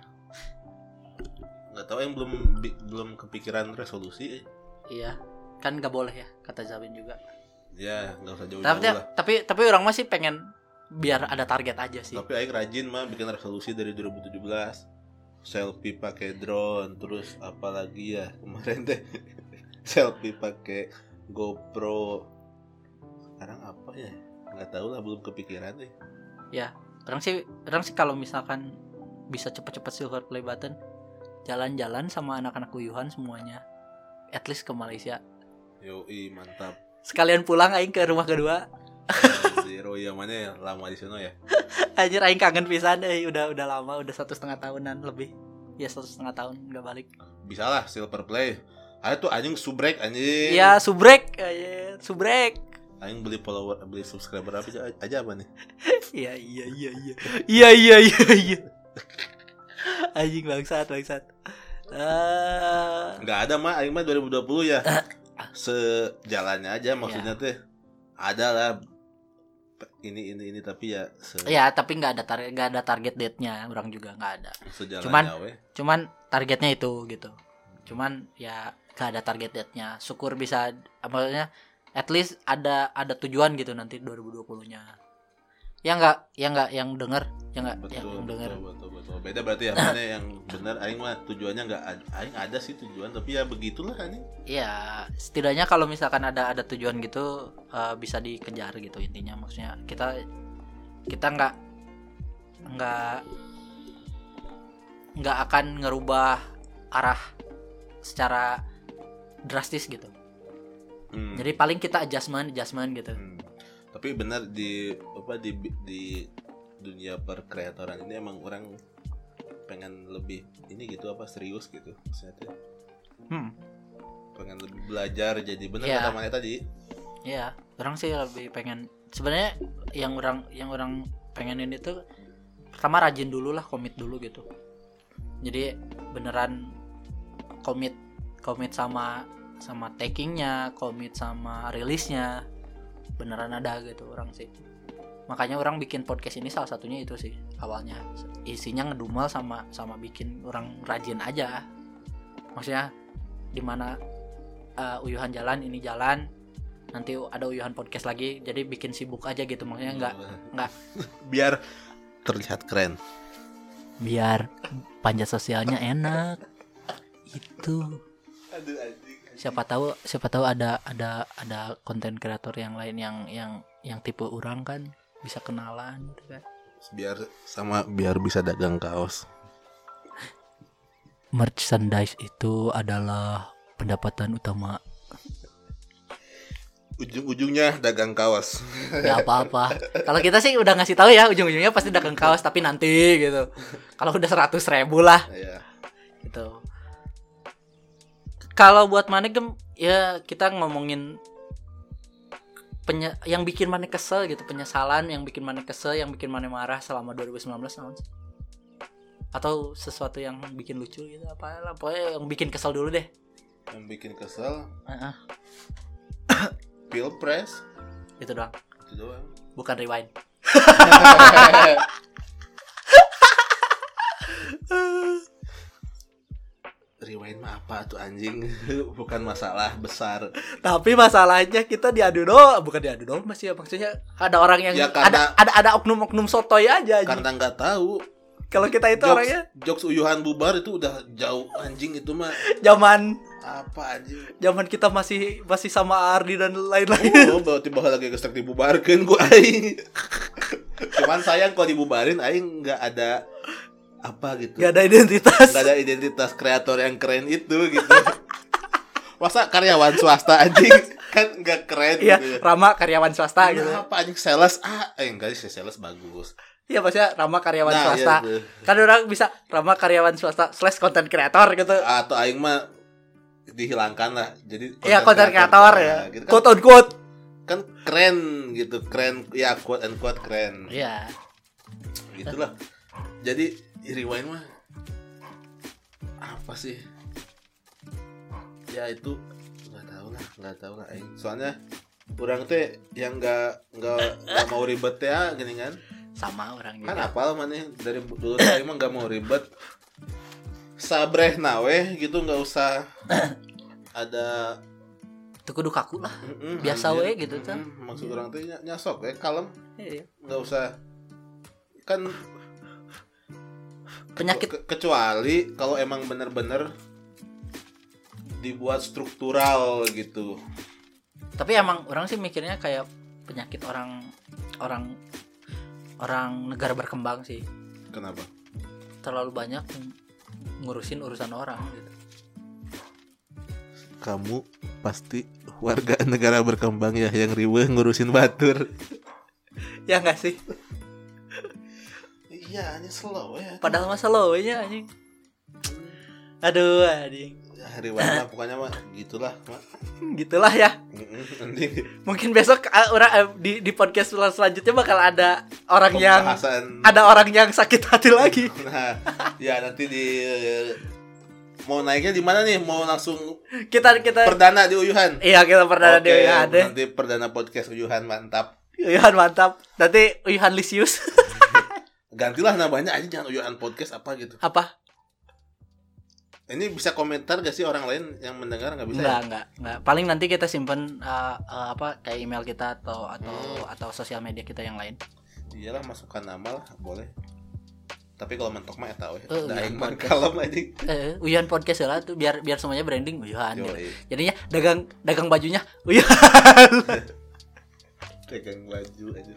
[SPEAKER 3] nggak tahu yang belum bi- belum kepikiran resolusi eh.
[SPEAKER 2] Iya, kan nggak boleh ya kata Zabin juga.
[SPEAKER 3] ya nggak usah jauh-jauh
[SPEAKER 2] Tapi
[SPEAKER 3] lah
[SPEAKER 2] tapi tapi orang masih pengen biar ada target aja sih.
[SPEAKER 3] tapi Aing rajin mah bikin resolusi dari 2017 (laughs) selfie pakai drone terus apalagi ya kemarin teh selfie pakai GoPro sekarang apa ya nggak tahu lah belum kepikiran deh
[SPEAKER 2] orang sih orang sih kalau misalkan bisa cepet-cepet silver play button jalan-jalan sama anak-anak uyuhan semuanya at least ke Malaysia
[SPEAKER 3] yoi mantap
[SPEAKER 2] sekalian pulang aing ke rumah kedua (laughs)
[SPEAKER 3] zero ya mana ya lama di sono ya
[SPEAKER 2] anjir aing kangen pisan eh udah udah lama udah satu setengah tahunan lebih ya satu setengah tahun nggak balik
[SPEAKER 3] bisa lah silver play ada tuh anjing subrek anjing
[SPEAKER 2] Iya subrek anjir, subrek
[SPEAKER 3] anjing beli follower beli subscriber apa aja, aja apa nih
[SPEAKER 2] iya iya iya iya iya iya iya iya anjing bangsat bangsat Eh,
[SPEAKER 3] nggak ada mah aing mah
[SPEAKER 2] (coughs)
[SPEAKER 3] 2020 ya sejalannya aja
[SPEAKER 2] Iya.
[SPEAKER 3] maksudnya teh ada lah ini ini ini tapi ya se
[SPEAKER 2] ya tapi nggak ada target nggak ada target date nya orang juga nggak ada
[SPEAKER 3] sejalannya
[SPEAKER 2] Cuman- ya,
[SPEAKER 3] we.
[SPEAKER 2] cuman targetnya itu gitu cuman ya gak ada target date nya syukur bisa maksudnya at least ada ada tujuan gitu nanti 2020 nya ya nggak ya nggak yang denger ya nggak yang
[SPEAKER 3] betul,
[SPEAKER 2] denger
[SPEAKER 3] betul, betul, betul. Beda berarti ya mana
[SPEAKER 2] (coughs)
[SPEAKER 3] yang benar aing mah tujuannya nggak ad- aing ada sih tujuan tapi ya begitulah anjing.
[SPEAKER 2] ya setidaknya kalau misalkan ada ada tujuan gitu eh, bisa dikejar gitu intinya maksudnya kita kita nggak nggak nggak akan ngerubah arah secara drastis gitu
[SPEAKER 3] Hmm.
[SPEAKER 2] Jadi paling kita adjustment, adjustment gitu.
[SPEAKER 3] Hmm. Tapi benar di apa di di dunia perkreatoran ini emang orang pengen lebih ini gitu apa serius gitu. Maksudnya tuh pengen lebih belajar jadi benar
[SPEAKER 2] Iya.
[SPEAKER 3] kata mana tadi.
[SPEAKER 2] Iya, orang sih lebih pengen sebenarnya yang orang yang orang pengenin itu pertama rajin dulu lah, komit dulu gitu. Jadi beneran komit komit sama sama takingnya, komit sama rilisnya beneran ada gitu orang sih. Makanya orang bikin podcast ini salah satunya itu sih awalnya. Isinya ngedumel sama sama bikin orang rajin aja. Maksudnya dimana eh, uyuhan jalan ini jalan nanti ada uyuhan podcast lagi jadi bikin sibuk aja gitu maksudnya nggak nggak.
[SPEAKER 3] (laughs) Biar terlihat keren.
[SPEAKER 2] biar panjat sosialnya enak itu
[SPEAKER 3] Aduh anjing.
[SPEAKER 2] siapa tahu siapa tahu ada ada ada konten kreator yang lain yang yang yang tipe orang kan bisa kenalan gitu kan
[SPEAKER 3] Biar sama biar bisa dagang kaos.
[SPEAKER 2] merchandise itu adalah pendapatan utama
[SPEAKER 3] Ujung-ujungnya dagang
[SPEAKER 2] (laughs)
[SPEAKER 3] kaos.
[SPEAKER 2] ya apa apa kalau kita sih udah ngasih tahu ya ujung-ujungnya pasti dagang kaos tapi nanti gitu kalau udah seratus ribu lah
[SPEAKER 3] ya.
[SPEAKER 2] gitu. Kalau buat Mane gem ya kita ngomongin penye- yang bikin Mane kesel gitu, penyesalan yang bikin Mane kesel, yang bikin Mane marah selama 2019 naon sih? Atau sesuatu yang bikin lucu gitu apalah pokoknya yang bikin kesel dulu deh.
[SPEAKER 3] Yang bikin kesel
[SPEAKER 2] Heeh,
[SPEAKER 3] Pilpres
[SPEAKER 2] itu Gitu doang.
[SPEAKER 3] itu doang.
[SPEAKER 2] Bukan rewind.
[SPEAKER 3] Rewind mah apa tuh anjing? (laughs) Bukan masalah besar.
[SPEAKER 2] Tapi masalahnya kita diadu do, bukan diadu do masih ya maksudnya ada orang yang
[SPEAKER 3] Ya,
[SPEAKER 2] ada
[SPEAKER 3] karena-
[SPEAKER 2] ada ada oknum-oknum sotoy aja. anjing.
[SPEAKER 3] Karena nggak tahu.
[SPEAKER 2] Kalau kita itu
[SPEAKER 3] jokes,
[SPEAKER 2] orangnya
[SPEAKER 3] jokes uyuhan bubar itu udah jauh anjing itu mah
[SPEAKER 2] zaman
[SPEAKER 3] apa anjing?
[SPEAKER 2] zaman kita masih masih sama Ardi dan lain-lain. (laughs)
[SPEAKER 3] Oh, bawa tiba lagi kesek dibubarkan gua aing. Cuman sayang kalau dibubarin aing nggak ada apa gitu.
[SPEAKER 2] Gak ada identitas.
[SPEAKER 3] Nggak ada identitas kreator yang keren itu gitu. Masa karyawan swasta anjing kan nggak keren
[SPEAKER 2] (laughs) Iya,
[SPEAKER 3] gitu ya.
[SPEAKER 2] Rama karyawan swasta gitu.
[SPEAKER 3] Kenapa anjing sales ah eh enggak sih sales bagus.
[SPEAKER 2] Iya, maksudnya Rama karyawan
[SPEAKER 3] Nah,
[SPEAKER 2] swasta.
[SPEAKER 3] iya, iya.
[SPEAKER 2] Kan orang bisa Rama karyawan swasta slash konten kreator gitu.
[SPEAKER 3] atau aing mah dihilangkan lah. Jadi
[SPEAKER 2] Iya, konten
[SPEAKER 3] konten
[SPEAKER 2] kreator ya.
[SPEAKER 3] Nah, gitu kan,
[SPEAKER 2] Quote on quote.
[SPEAKER 3] kan keren gitu, keren ya quote and quote keren.
[SPEAKER 2] Iya.
[SPEAKER 3] Itulah. Jadi rewind mah apa sih? Ya itu nggak tahu lah, nggak tahu lah. Aing. Soalnya kurang teh yang nggak nggak nggak mau ribet teh ah, gini kan.
[SPEAKER 2] Sama orang gitu.
[SPEAKER 3] kan
[SPEAKER 2] juga.
[SPEAKER 3] apal maneh dari bu- dulu saya emang gak mau ribet sabreh nawe gitu nggak usah ada
[SPEAKER 2] Itu kudu kaku lah.
[SPEAKER 3] Mm-mm,
[SPEAKER 2] Biasa
[SPEAKER 3] anjir.
[SPEAKER 2] we gitu,
[SPEAKER 3] Mm-mm,
[SPEAKER 2] Chan.
[SPEAKER 3] maksud orang tuh ny- nyasok we kalem
[SPEAKER 2] Iya,
[SPEAKER 3] nggak usah kan
[SPEAKER 2] Penyakit
[SPEAKER 3] ke- kecuali kalau emang bener-bener dibuat struktural gitu
[SPEAKER 2] tapi emang orang sih mikirnya kayak penyakit orang orang orang negara berkembang sih
[SPEAKER 3] kenapa
[SPEAKER 2] terlalu banyak ng- ngurusin urusan orang gitu
[SPEAKER 3] kamu pasti warga negara berkembang ya yang riweh ngurusin batur
[SPEAKER 2] ya nggak sih
[SPEAKER 3] iya nyesel ya
[SPEAKER 2] padahal masa lo nya iya, anjing aduh anjing
[SPEAKER 3] hari
[SPEAKER 2] Ah.
[SPEAKER 3] warna pokoknya Ya, mah gitulah mah
[SPEAKER 2] gitulah ya
[SPEAKER 3] (laughs) nanti
[SPEAKER 2] mungkin besok ah, orang eh, di di podcast sel- selanjutnya bakal ada orang yang
[SPEAKER 3] pembahasan
[SPEAKER 2] ada orang yang sakit hati lagi
[SPEAKER 3] nah ya nanti di mau naiknya di mana nih mau langsung
[SPEAKER 2] kita kita
[SPEAKER 3] perdana di Uyuhan
[SPEAKER 2] iya kita pernah ada
[SPEAKER 3] Oke,
[SPEAKER 2] Uyuhan eh. deh
[SPEAKER 3] nanti perdana podcast Uyuhan mantap
[SPEAKER 2] Uyuhan mantap nanti Uyuhan Lisius (laughs)
[SPEAKER 3] gantilah namanya aja jangan Uyuhan podcast apa gitu
[SPEAKER 2] apa
[SPEAKER 3] ini bisa komentar gak sih orang lain yang mendengar nggak bisa ya?
[SPEAKER 2] enggak enggak enggak paling nanti kita simpen eh, eh, apa kayak email kita atau atau
[SPEAKER 3] Hmm.
[SPEAKER 2] atau sosial media kita yang lain
[SPEAKER 3] ya? iyalah masukkan nama lah boleh tapi kalau mentok mah eta weh
[SPEAKER 2] Eh,
[SPEAKER 3] da aing
[SPEAKER 2] Uyuhan
[SPEAKER 3] mah
[SPEAKER 2] Podcast.
[SPEAKER 3] kalem anjing
[SPEAKER 2] eh Uyuhan podcast lah tuh biar biar semuanya branding Uyuhan gitu.
[SPEAKER 3] Yoi.
[SPEAKER 2] jadinya dagang dagang bajunya Uyuhan
[SPEAKER 3] pegang baju aja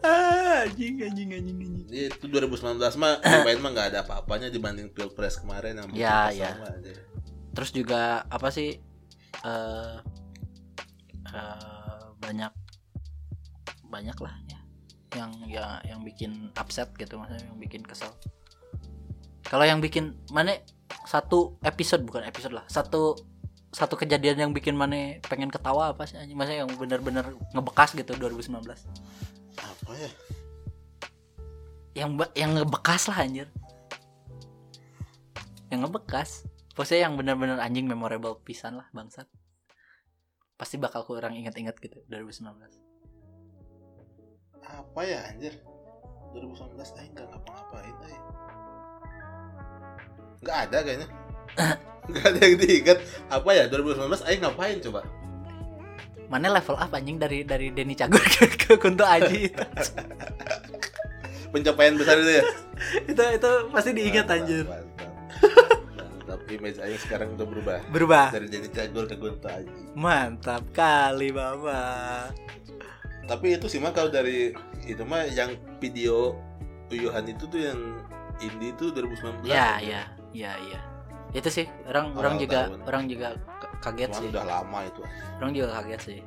[SPEAKER 2] Ah, anjing anjing anjing anjing
[SPEAKER 3] Ini itu 2019
[SPEAKER 2] (coughs)
[SPEAKER 3] mah lumayan mah nggak ada apa-apanya dibanding pilpres kemarin yang
[SPEAKER 2] Ya,
[SPEAKER 3] begitu
[SPEAKER 2] ya.
[SPEAKER 3] sama aja.
[SPEAKER 2] terus juga apa sih eh eh, banyak banyak lah ya yang ya yang bikin upset gitu maksudnya yang bikin kesel kalau yang bikin mana satu episode bukan episode lah satu satu kejadian yang bikin mana pengen ketawa apa sih anjing? maksudnya yang bener-bener ngebekas gitu 2019
[SPEAKER 3] apa ya
[SPEAKER 2] yang ba- yang ngebekas lah anjir yang ngebekas maksudnya yang benar-benar anjing memorable pisan lah bangsat pasti bakal kurang ingat-ingat gitu 2019
[SPEAKER 3] apa ya anjir 2019 aing nggak ngapa-ngapain aing nggak ada kayaknya
[SPEAKER 2] (coughs)
[SPEAKER 3] nggak ada yang diingat apa ya 2019 aing ngapain coba
[SPEAKER 2] mana level up anjing dari dari Denny Cagur ke, ke Kunto Aji itu
[SPEAKER 3] pencapaian
[SPEAKER 2] (laughs)
[SPEAKER 3] besar itu ya
[SPEAKER 2] itu, itu pasti diingat anjir
[SPEAKER 3] mantap mantap image aing sekarang udah berubah
[SPEAKER 2] berubah
[SPEAKER 3] dari jadi cagur ke gunta aja
[SPEAKER 2] mantap kali bapak
[SPEAKER 3] tapi itu sih mah kalau dari itu mah yang video uyuhan itu tuh yang indie itu 2019
[SPEAKER 2] ya ya ya ya itu sih orang orang
[SPEAKER 3] Awal
[SPEAKER 2] juga
[SPEAKER 3] tahun.
[SPEAKER 2] orang juga k- kaget
[SPEAKER 3] Cuman
[SPEAKER 2] sih
[SPEAKER 3] udah lama itu
[SPEAKER 2] orang juga kaget sih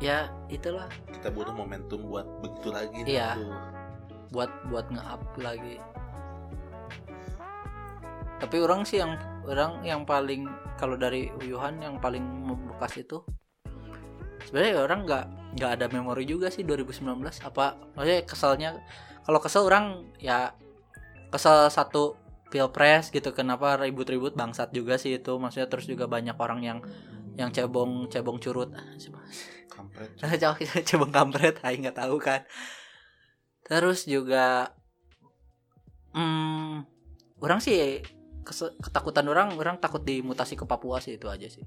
[SPEAKER 2] ya itulah
[SPEAKER 3] kita butuh momentum buat begitu lagi nah,
[SPEAKER 2] Iya.
[SPEAKER 3] tuh.
[SPEAKER 2] buat buat nge-up lagi. Tapi orang sih yang orang yang paling kalau dari Uyuhan yang paling membekas itu sebenarnya orang nggak nggak ada memori juga sih 2019 apa maksudnya kesalnya kalau kesel orang ya kesel satu pilpres gitu kenapa ribut-ribut bangsat juga sih itu maksudnya terus juga banyak orang yang yang cebong cebong curut
[SPEAKER 3] kampret
[SPEAKER 2] Nah, (laughs) coba kita coba kampret, Hai nggak tahu kan. Terus juga, hmm, orang sih kese- ketakutan orang, orang takut dimutasi ke Papua sih itu aja sih.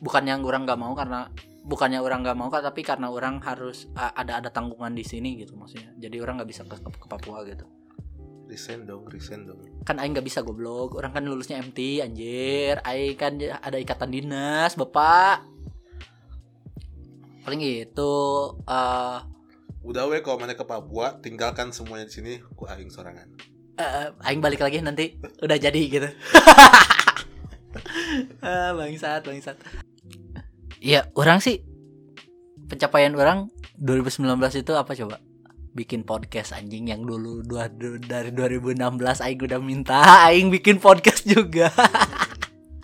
[SPEAKER 2] Bukan yang orang nggak mau karena bukannya orang nggak mau kan tapi karena orang harus a- ada ada tanggungan di sini gitu maksudnya. Jadi orang nggak bisa ke, ke Papua gitu.
[SPEAKER 3] resign dong resign dong
[SPEAKER 2] Kan Aing nggak bisa goblok, orang kan lulusnya MT anjir, Aing kan j- ada ikatan dinas, bapak. Paling itu eh
[SPEAKER 3] udah we kalau mana ke Papua tinggalkan semuanya di sini ku aing sorangan
[SPEAKER 2] Eh, aing balik lagi nanti udah jadi gitu. (laughs) Ah, bangsat, bangsat. Ya, orang sih pencapaian orang 2019 itu apa coba? Bikin podcast anjing yang dulu dua, du- dari 2016 aing udah minta aing bikin podcast juga.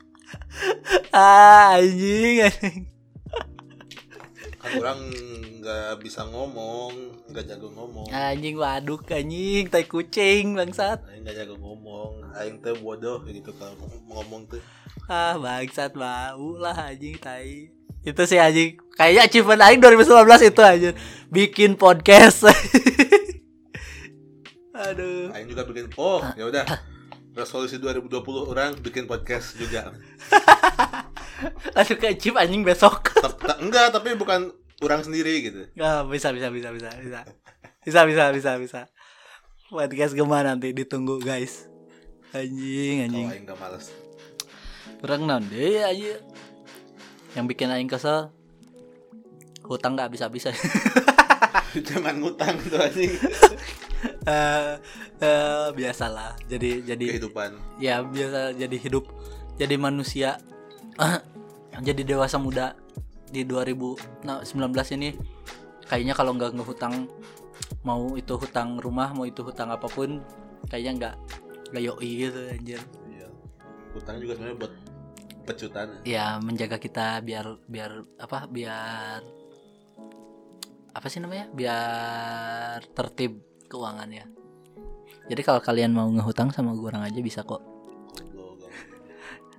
[SPEAKER 2] (laughs) ah, anjing, anjing.
[SPEAKER 3] kan orang nggak bisa ngomong nggak jago ngomong
[SPEAKER 2] Anjing waduk anjing, tai kucing bangsat.
[SPEAKER 3] aing nggak jago ngomong aing teh bodoh gitu kalau ngom- ngomong tuh
[SPEAKER 2] Ah bangsat bau lah anjing tai Itu sih anjing Kayaknya achievement anjing 2019 itu anjing Bikin podcast (laughs) Aduh
[SPEAKER 3] aing juga bikin oh ya udah resolusi 2020 orang bikin podcast juga
[SPEAKER 2] Langsung ke achieve anjing besok (laughs)
[SPEAKER 3] Tep- ta- enggak tapi bukan orang sendiri gitu
[SPEAKER 2] ah, Bisa bisa bisa bisa bisa Bisa bisa bisa bisa Podcast kemana nanti ditunggu guys Anjing
[SPEAKER 3] kalau
[SPEAKER 2] anjing
[SPEAKER 3] aing nggak males (laughs)
[SPEAKER 2] Orang naon deui aja. Yang bikin aing kesel hutang gak (laughs) habis-habisan.
[SPEAKER 3] Jangan ngutang tuh anjing
[SPEAKER 2] Eh, eh, biasalah. Jadi jadi
[SPEAKER 3] kehidupan.
[SPEAKER 2] ya biasa jadi hidup jadi manusia (clears throat) jadi dewasa muda di 2019 ini kayaknya kalau nggak ngehutang mau itu hutang rumah mau itu hutang apapun kayaknya nggak nggak yoi gitu anjir
[SPEAKER 3] Iya. Utang juga sebenarnya buat pecutan.
[SPEAKER 2] ya menjaga kita biar biar apa biar apa sih namanya biar tertib keuangannya jadi kalau kalian mau ngehutang sama gue orang aja bisa kok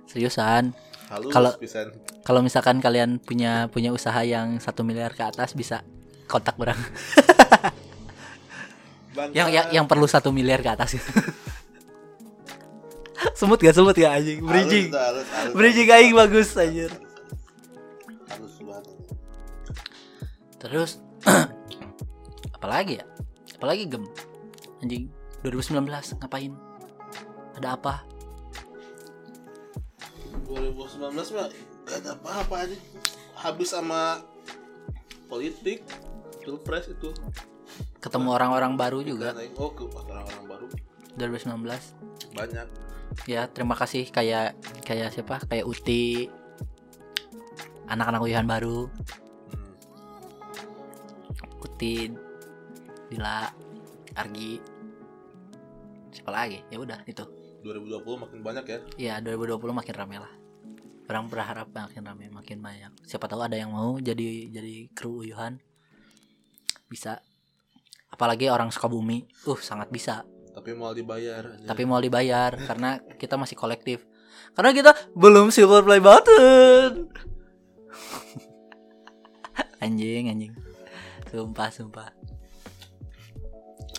[SPEAKER 2] seriusan
[SPEAKER 3] Halus
[SPEAKER 2] Kalau-
[SPEAKER 3] pisan.
[SPEAKER 2] kalau misalkan kalian punya punya usaha yang satu miliar ke atas bisa kontak orang (laughs)
[SPEAKER 3] Bangsa.
[SPEAKER 2] yang yang, yang perlu satu miliar ke atas (laughs) gitu. semut gak semut gak anjing
[SPEAKER 3] Halus
[SPEAKER 2] bridging
[SPEAKER 3] tuh, halus, halus.
[SPEAKER 2] bridging aing bagus anjir
[SPEAKER 3] Halus banget.
[SPEAKER 2] terus (clears throat) apalagi ya apalagi gem anjing 2019 ngapain ada apa
[SPEAKER 3] 2019 mah gak ada apa-apa aja. Habis sama politik, pilpres itu.
[SPEAKER 2] ketemu orang-orang baru juga
[SPEAKER 3] Gak naik oh ke orang-orang baru
[SPEAKER 2] 2019
[SPEAKER 3] banyak.
[SPEAKER 2] ya terima kasih kayak kayak siapa kayak Uti anak-anak uyuhan baru
[SPEAKER 3] Hmm.
[SPEAKER 2] Uti Dila Argi siapa lagi ya udah itu
[SPEAKER 3] 2020 makin banyak ya.
[SPEAKER 2] ya 2020 makin rame lah orang berharap makin rame makin banyak siapa tahu ada yang mau jadi jadi kru uyuhan bisa apalagi orang Sukabumi uh sangat bisa
[SPEAKER 3] Tapi mau dibayar. anjing.
[SPEAKER 2] tapi mau dibayar karena kita masih kolektif karena kita belum silver play button (laughs) anjing anjing sumpah sumpah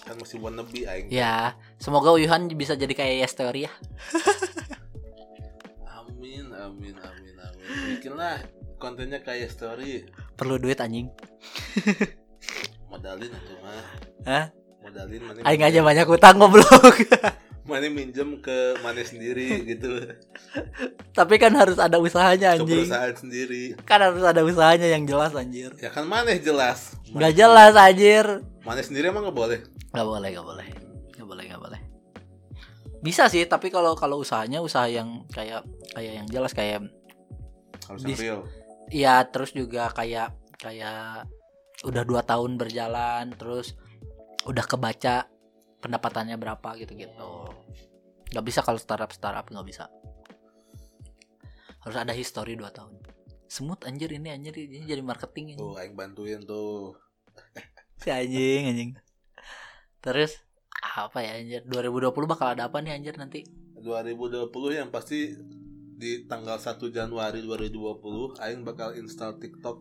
[SPEAKER 3] kan masih wannabe aing.
[SPEAKER 2] ya semoga Uyuhan bisa jadi kayak Yes Theory ya
[SPEAKER 3] Amin, amin, amin, amin. Bikinlah kontennya kayak story.
[SPEAKER 2] perlu duit anjing
[SPEAKER 3] Modalin atau mah.
[SPEAKER 2] Hah?
[SPEAKER 3] Modalin mana?
[SPEAKER 2] aing aja banyak utang goblok (laughs)
[SPEAKER 3] Mana minjem ke mana sendiri gitu.
[SPEAKER 2] tapi kan harus ada usahanya
[SPEAKER 3] Ke
[SPEAKER 2] anjing
[SPEAKER 3] perusahaan sendiri.
[SPEAKER 2] kan harus ada usahanya yang jelas anjir
[SPEAKER 3] Ya kan mana jelas.
[SPEAKER 2] nggak jelas anjir
[SPEAKER 3] Mana sendiri emang nggak boleh.
[SPEAKER 2] Gak boleh, gak boleh, gak boleh, gak boleh. Bisa sih, tapi kalau kalau usahanya usaha yang kayak kayak yang jelas kayak
[SPEAKER 3] Harus
[SPEAKER 2] Bis-
[SPEAKER 3] real.
[SPEAKER 2] ya terus juga kayak kayak udah dua tahun berjalan terus udah kebaca pendapatannya berapa gitu-gitu. Gak bisa kalau startup startup nggak bisa. Harus ada history dua tahun. Semut anjir ini anjir ini jadi marketing.
[SPEAKER 3] Tuh aing bantuin
[SPEAKER 2] Oh.
[SPEAKER 3] tuh.
[SPEAKER 2] Si anjing anjing. Terus apa ya anjir 2020 bakal ada apa nih anjir nanti?
[SPEAKER 3] 2020 yang pasti di tanggal 1 Januari 2020 aing bakal install TikTok.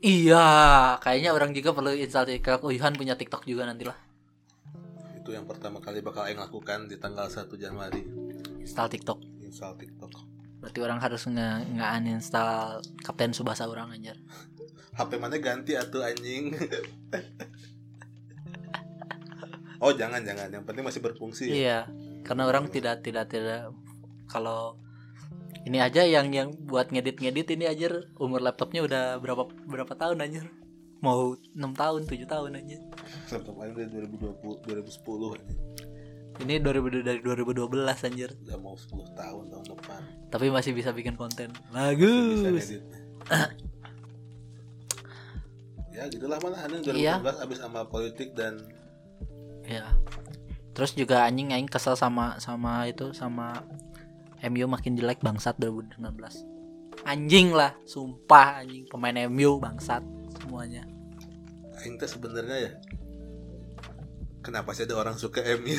[SPEAKER 2] Iya, kayaknya orang juga perlu install TikTok. Uyuhan punya TikTok juga nanti lah.
[SPEAKER 3] Itu yang pertama kali bakal aing lakukan di tanggal 1 Januari.
[SPEAKER 2] Install TikTok.
[SPEAKER 3] Install TikTok.
[SPEAKER 2] Berarti orang harus nge nge uninstall Kapten Subasa orang anjir.
[SPEAKER 3] HP mana ganti atuh
[SPEAKER 2] (laughs)
[SPEAKER 3] anjing. oh jangan jangan, yang penting masih berfungsi. ya.
[SPEAKER 2] Iya, karena orang tidak tidak tidak kalau ini aja yang yang buat ngedit-ngedit ini anjir umur laptopnya udah berapa berapa tahun anjir. Mau 6 tahun, 7 tahun anjir.
[SPEAKER 3] Laptop aing dari 2020 2010 anjing.
[SPEAKER 2] Ini 2000 dari 2012 anjir,
[SPEAKER 3] Udah mau 10 tahun tahun depan.
[SPEAKER 2] tapi masih bisa bikin konten.
[SPEAKER 3] Masih bisa
[SPEAKER 2] Bagus.
[SPEAKER 3] edit. ya gitulah mana anjing 2019
[SPEAKER 2] Iya.
[SPEAKER 3] abis sama politik dan
[SPEAKER 2] Ya. Terus juga anjing aing kesel sama sama itu sama MU makin jelek bangsat 2019. Anjing lah, sumpah anjing pemain MU bangsat semuanya. (laughs)
[SPEAKER 3] aing teh sebenarnya ya Kenapa sih ada orang suka MU?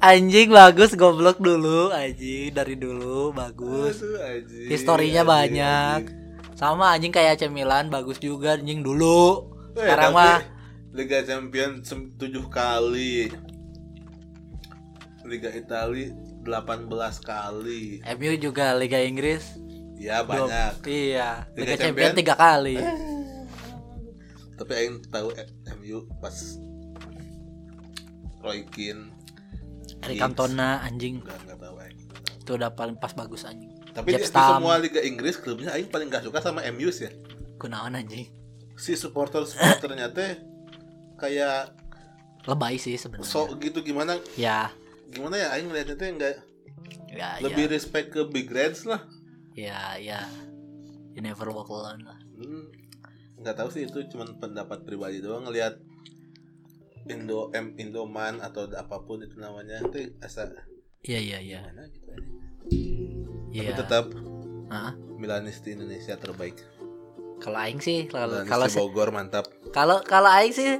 [SPEAKER 2] Anjing bagus goblok dulu anjing dari dulu bagus.
[SPEAKER 3] (laughs) Aduh, anjing, Iya,
[SPEAKER 2] Historinya
[SPEAKER 3] anjing,
[SPEAKER 2] banyak.
[SPEAKER 3] anjing.
[SPEAKER 2] Sama anjing kayak AC Milan bagus juga anjing dulu.
[SPEAKER 3] Eh,
[SPEAKER 2] Sekarang
[SPEAKER 3] tapi
[SPEAKER 2] mah
[SPEAKER 3] Liga Champion 7 kali. Liga Itali 18 kali.
[SPEAKER 2] MU juga Liga Inggris
[SPEAKER 3] Ya
[SPEAKER 2] dua-
[SPEAKER 3] banyak.
[SPEAKER 2] Iya, Liga,
[SPEAKER 3] Liga Eh,
[SPEAKER 2] Champion
[SPEAKER 3] Champion.
[SPEAKER 2] tiga kali.
[SPEAKER 3] Tapi aing tahu eh, MU pas Roy Keane
[SPEAKER 2] Eric Cantona anjing
[SPEAKER 3] Enggak, enggak tahu aing.
[SPEAKER 2] itu udah paling pas bagus anjing.
[SPEAKER 3] Tapi
[SPEAKER 2] Jeb
[SPEAKER 3] di, di
[SPEAKER 2] Stam.
[SPEAKER 3] semua liga Inggris klubnya aing paling gak suka sama MU sih ya.
[SPEAKER 2] Kunaon anjing.
[SPEAKER 3] Si supporter-supporternya teh kayak
[SPEAKER 2] Lebay sih sebenarnya.
[SPEAKER 3] sok gitu gimana
[SPEAKER 2] Ya,
[SPEAKER 3] gimana ya aing ngeliatnya teh enggak
[SPEAKER 2] ya,
[SPEAKER 3] lebih respect ke big reds lah.
[SPEAKER 2] ya, ya, ya. You never walk alone lah.
[SPEAKER 3] Hmm, nggak tahu sih itu cuman pendapat pribadi doang ngelihat Indo M Indoman atau apapun itu namanya itu asa
[SPEAKER 2] Iya, iya, iya.
[SPEAKER 3] gimana gitu aja.
[SPEAKER 2] Iya.
[SPEAKER 3] Tapi tetap
[SPEAKER 2] Hah?
[SPEAKER 3] Milanisti Indonesia terbaik.
[SPEAKER 2] Kalau aing sih kalau kalau
[SPEAKER 3] Milanisti Bogor mantap.
[SPEAKER 2] Kalau kalau aing sih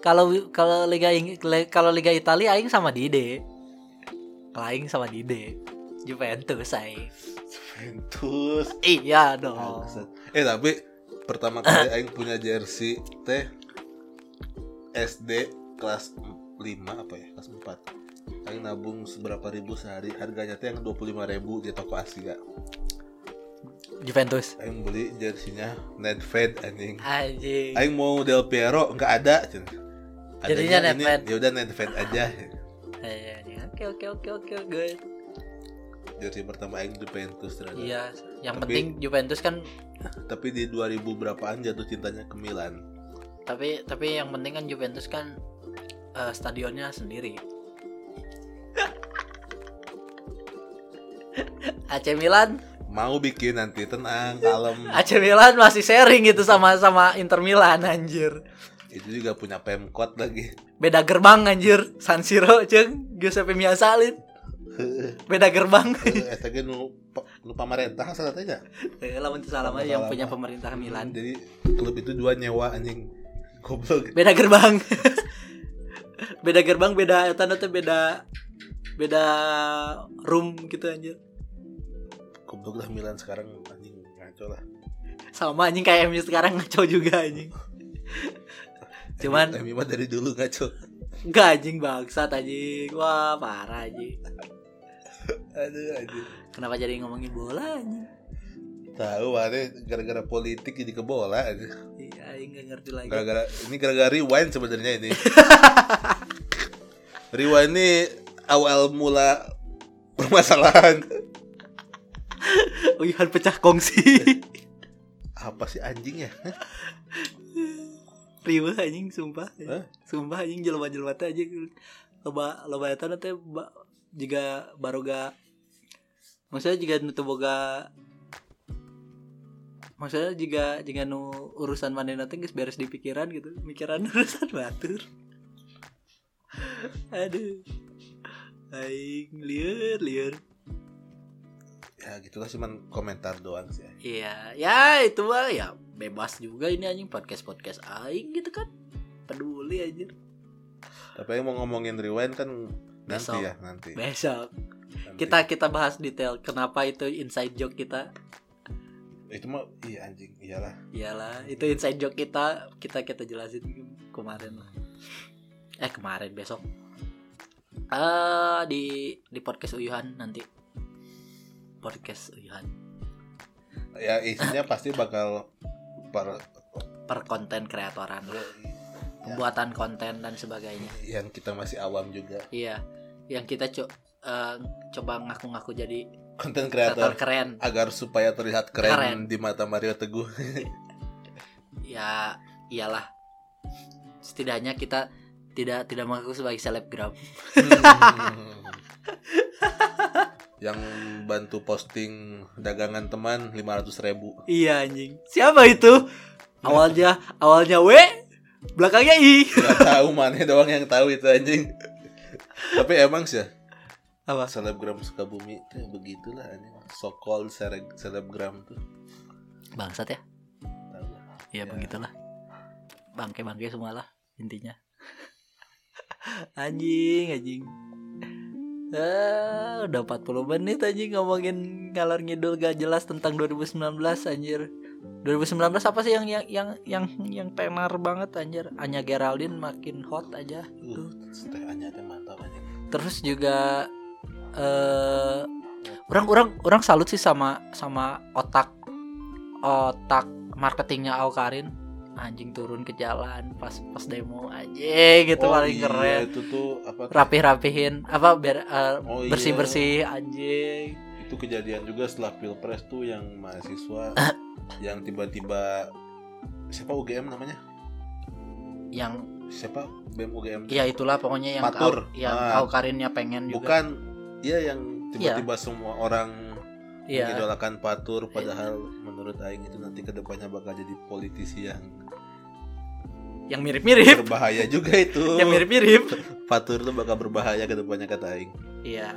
[SPEAKER 2] kalau kalau liga Ing- le- kalau liga Italia aing sama Dide. Kalau aing sama Dide. Juventus aing.
[SPEAKER 3] Juventus.
[SPEAKER 2] Iya dong.
[SPEAKER 3] Bangsat. Eh tapi pertama kali aing punya jersey teh SD kelas 5 apa ya? Kelas 4. Aing nabung seberapa ribu sehari? Harganya teh yang 25.000 di toko Asia.
[SPEAKER 2] Juventus.
[SPEAKER 3] Aing beli jersinya Ned Fed anjing.
[SPEAKER 2] Anjing.
[SPEAKER 3] Aing mau Del Piero nggak ada. cen.
[SPEAKER 2] Jadinya Ned
[SPEAKER 3] ini,
[SPEAKER 2] Fed.
[SPEAKER 3] Ya udah Ned Fed aja.
[SPEAKER 2] Iya, iya. Oke oke oke oke good.
[SPEAKER 3] Jersey pertama aing Juventus ternyata.
[SPEAKER 2] Iya, yang
[SPEAKER 3] Tapi-
[SPEAKER 2] penting Juventus kan
[SPEAKER 3] Tapi di 2000 berapaan jatuh cintanya ke Milan.
[SPEAKER 2] tapi tapi yang penting kan Juventus kan eh, stadionnya sendiri. (laughs) AC Milan,
[SPEAKER 3] Mau bikin nanti tenang,
[SPEAKER 2] (laughs)
[SPEAKER 3] kalem.
[SPEAKER 2] AC Milan masih sharing gitu sama sama Inter Milan anjir.
[SPEAKER 3] Itu juga punya Pemkot lagi.
[SPEAKER 2] Beda gerbang anjir San Siro jeung Giuseppe Miasalin. Beda gerbang.
[SPEAKER 3] STG eh, nu pa- nu pemerintah salah tanya.
[SPEAKER 2] Eh, Lamun teu salah mah yang punya pemerintah Milan.
[SPEAKER 3] Jadi klub itu dua nyewa anjing. Goblok.
[SPEAKER 2] Beda gerbang. (laughs) beda gerbang beda eta teh beda beda room gitu anjir.
[SPEAKER 3] Goblok lah Milan sekarang anjing ngaco lah.
[SPEAKER 2] Sama anjing kayak MU sekarang ngaco juga anjing. Cuman
[SPEAKER 3] Emi mah dari dulu ngaco.
[SPEAKER 2] enggak anjing bangsat anjing. Wah, parah anjing.
[SPEAKER 3] Aduh anjing.
[SPEAKER 2] Kenapa jadi ngomongin bola anjing?
[SPEAKER 3] Tahu ada gara-gara politik jadi ke bola. anjing.
[SPEAKER 2] Iya, anjing nggak ngerti lagi.
[SPEAKER 3] Gara-gara ini gara-gara rewind sebenarnya
[SPEAKER 2] (laughs)
[SPEAKER 3] ini. rewind ini awal mula permasalahan
[SPEAKER 2] Uyuhan Oh iya, pecah kongsi.
[SPEAKER 3] apa sih anjing ya?
[SPEAKER 2] Riweuh anjing sumpah.
[SPEAKER 3] Hah?
[SPEAKER 2] Sumpah anjing jelema-jelema teh anjing loba loba eta teh ba- juga baroga maksudnya juga nu teu boga maksudnya juga juga nu urusan manehna teh geus beres di pikiran gitu. Mikiran urusan batur. (laughs) Aduh. Aing lieur lieur.
[SPEAKER 3] Ya gitulah cuman komentar doang sih.
[SPEAKER 2] Iya, ya itu mah ya bebas juga ini anjing podcast podcast aing gitu kan. Peduli anjir.
[SPEAKER 3] Tapi yang mau ngomongin rewind kan nanti
[SPEAKER 2] Besok.
[SPEAKER 3] ya nanti.
[SPEAKER 2] Besok
[SPEAKER 3] Nanti.
[SPEAKER 2] kita kita bahas detail kenapa itu inside joke kita.
[SPEAKER 3] itu mah iya anjing iyalah.
[SPEAKER 2] Iyalah, itu inside joke kita kita kita jelasin kemarin lah. Eh kemarin besok. Eh di di podcast Uyuhan nanti. Podcast Uyuhan
[SPEAKER 3] Ya isinya pasti bakal per
[SPEAKER 2] per konten kreatoran,
[SPEAKER 3] Iya.
[SPEAKER 2] pembuatan konten dan sebagainya.
[SPEAKER 3] yang kita masih awam juga
[SPEAKER 2] Iya, yang kita co- eh, coba ngaku-ngaku jadi
[SPEAKER 3] konten
[SPEAKER 2] kreator
[SPEAKER 3] kreator
[SPEAKER 2] keren.
[SPEAKER 3] agar supaya terlihat keren,
[SPEAKER 2] Keren.
[SPEAKER 3] di mata Mario
[SPEAKER 2] (laughs)
[SPEAKER 3] Teguh.
[SPEAKER 2] Ya, iyalah. Setidaknya kita tidak tidak mengaku sebagai selebgram.
[SPEAKER 3] Hmm. yang bantu posting dagangan teman 500.000 ribu
[SPEAKER 2] Iya anjing. Siapa itu? Awalnya awalnya W, belakangnya I.
[SPEAKER 3] nggak tahu mana doang yang tahu itu anjing tapi emang sih ya,
[SPEAKER 2] Apa?
[SPEAKER 3] selebgram Sukabumi itu begitulah anjing sokol selebgram tuh
[SPEAKER 2] Bangsat ya?
[SPEAKER 3] Tahu lah.
[SPEAKER 2] Ya,
[SPEAKER 3] Ya.
[SPEAKER 2] begitulah. Bangke-bangke semualah intinya. (laughs) anjing, anjing. Eh, udah 40 menit anjing ngomongin ngalor ngidul gak jelas tentang 2019 anjir. 2019 apa sih yang yang yang yang yang tenar banget anjir. Anya Geraldine makin hot aja.
[SPEAKER 3] Uh, setelannya teh mantap anjing.
[SPEAKER 2] terus juga eh orang orang orang salut sih sama sama otak otak marketingnya Al Karin anjing turun ke jalan pas pas demo aja gitu
[SPEAKER 3] Oh,
[SPEAKER 2] paling
[SPEAKER 3] iya,
[SPEAKER 2] keren
[SPEAKER 3] itu tuh apa tuh?
[SPEAKER 2] rapih-rapihin apa biar
[SPEAKER 3] Oh, iya.
[SPEAKER 2] bersih bersih anjing
[SPEAKER 3] itu kejadian juga setelah pilpres tuh yang
[SPEAKER 2] (coughs)
[SPEAKER 3] mahasiswa yang tiba-tiba siapa UGM namanya
[SPEAKER 2] yang
[SPEAKER 3] siapa BEM UGM tuh?
[SPEAKER 2] ya itulah pokoknya yang
[SPEAKER 3] Matur.
[SPEAKER 2] kau yang
[SPEAKER 3] Ah.
[SPEAKER 2] kau karinnya pengen juga
[SPEAKER 3] bukan iya yang tiba-tiba semua orang
[SPEAKER 2] iya
[SPEAKER 3] mengidolakan Patur padahal menurut Aing itu nanti kedepannya bakal jadi politisi yang
[SPEAKER 2] yang mirip-mirip
[SPEAKER 3] berbahaya
[SPEAKER 2] (laughs)
[SPEAKER 3] juga itu
[SPEAKER 2] Iya. yang mirip-mirip
[SPEAKER 3] Patur tuh bakal berbahaya kedepannya kata Aing
[SPEAKER 2] Iya.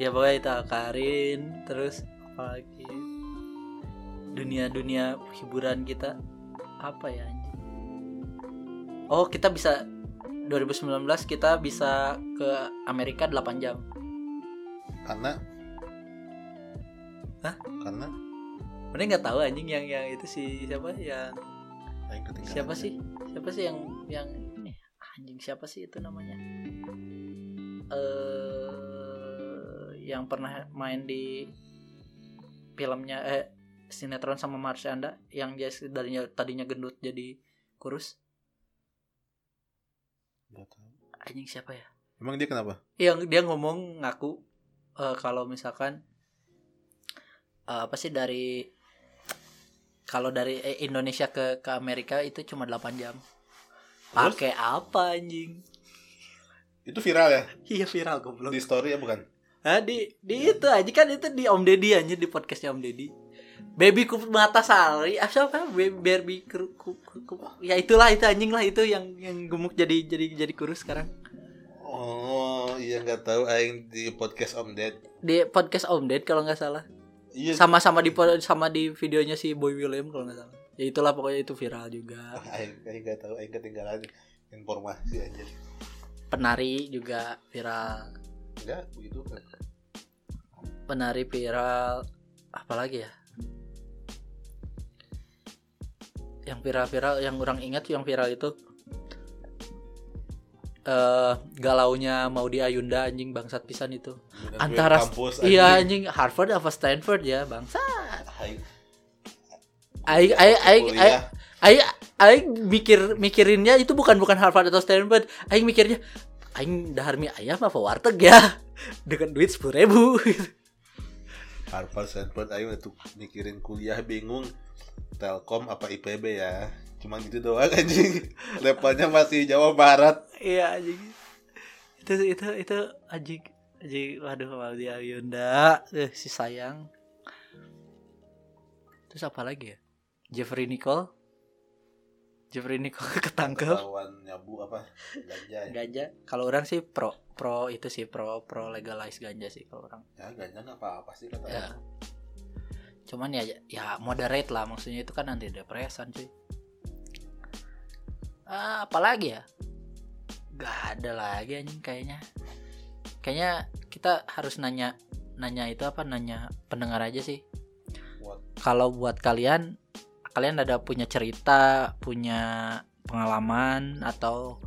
[SPEAKER 2] Ya pokoknya itu Karin, terus apalagi dunia-dunia hiburan kita apa ya anjing? Oh, kita bisa 2019 kita bisa ke Amerika 8 jam.
[SPEAKER 3] karena
[SPEAKER 2] Hah?
[SPEAKER 3] karena
[SPEAKER 2] Mana nggak tahu anjing yang yang itu si siapa yang
[SPEAKER 3] Aing ketinggalan
[SPEAKER 2] siapa sih? Siapa sih yang yang ini? Anjing siapa sih itu namanya? Eh yang pernah main di filmnya eh sinetron sama Marsyanda yang dia tadinya tadinya gendut jadi kurus.
[SPEAKER 3] Nggak tahu.
[SPEAKER 2] Anjing siapa ya?
[SPEAKER 3] emang dia kenapa
[SPEAKER 2] Yang dia ngomong ngaku eh, kalau misalkan eh, apa sih dari kalau dari eh, Indonesia ke ke Amerika itu cuma 8 jam.
[SPEAKER 3] Terus?
[SPEAKER 2] Pakai apa anjing?
[SPEAKER 3] itu viral ya
[SPEAKER 2] Iya viral goblok.
[SPEAKER 3] di story ya bukan
[SPEAKER 2] Hah, di di itu aja kan itu di Om Deddy aja di podcastnya Om Deddy. Baby Kup Mata Sari, ah, siapa? Be- Baby Kup, Kup- Kup- ya itulah itu anjing lah itu yang yang gemuk jadi jadi jadi kurus sekarang.
[SPEAKER 3] oh iya nggak tahu Aing di podcast Om Ded
[SPEAKER 2] Di podcast Om Ded kalau nggak salah.
[SPEAKER 3] iya
[SPEAKER 2] Sama-sama di pod- sama di videonya si Boy William kalau nggak salah. Ya itulah pokoknya itu viral juga.
[SPEAKER 3] Aing Aing nggak tahu Aing ketinggalan informasi aja
[SPEAKER 2] Penari juga viral.
[SPEAKER 3] enggak begitu kan
[SPEAKER 2] penari viral apalagi ya yang viral-viral yang kurang ingat yang viral itu eh galaunya mau di Ayunda anjing bangsat pisan itu
[SPEAKER 3] Bener-bener
[SPEAKER 2] Antara-
[SPEAKER 3] kampus
[SPEAKER 2] iya
[SPEAKER 3] anjing.
[SPEAKER 2] anjing Harvard apa Stanford ya bangsa
[SPEAKER 3] Aing
[SPEAKER 2] aing aing aing aing
[SPEAKER 3] kuliah
[SPEAKER 2] aing aing mikir mikirinnya itu bukan bukan Harvard atau Stanford aing mikirnya aing dahar mie ayam apa warteg ya (laughs) dengan duit sepuluh ribu
[SPEAKER 3] Harvard Stanford ayo untuk mikirin kuliah bingung Telkom apa IPB ya cuman gitu doang (laughs) anjing levelnya masih Jawa Barat
[SPEAKER 2] Iya anjing. Itu itu itu anjing anjing waduh Maudi Ayunda eh, si sayang. Terus apa lagi ya? Jeffrey Nicole. Jeffrey Nicole (laughs) ketangkep.
[SPEAKER 3] lawan nyabu apa ganja ya,
[SPEAKER 2] Ganja. Kalau orang sih pro pro itu sih pro pro legalize ganja sih kalau orang.
[SPEAKER 3] ya ganja nggak apa-apa sih kata
[SPEAKER 2] Ya. Cuman ya ya moderate lah maksudnya itu kan antidepresan cuy. Ah, apalagi ya? Gak ada lagi anjing kayaknya. Kayaknya kita harus nanya nanya itu apa nanya pendengar aja sih.
[SPEAKER 3] Buat-
[SPEAKER 2] Kalau buat kalian kalian ada punya cerita, punya pengalaman atau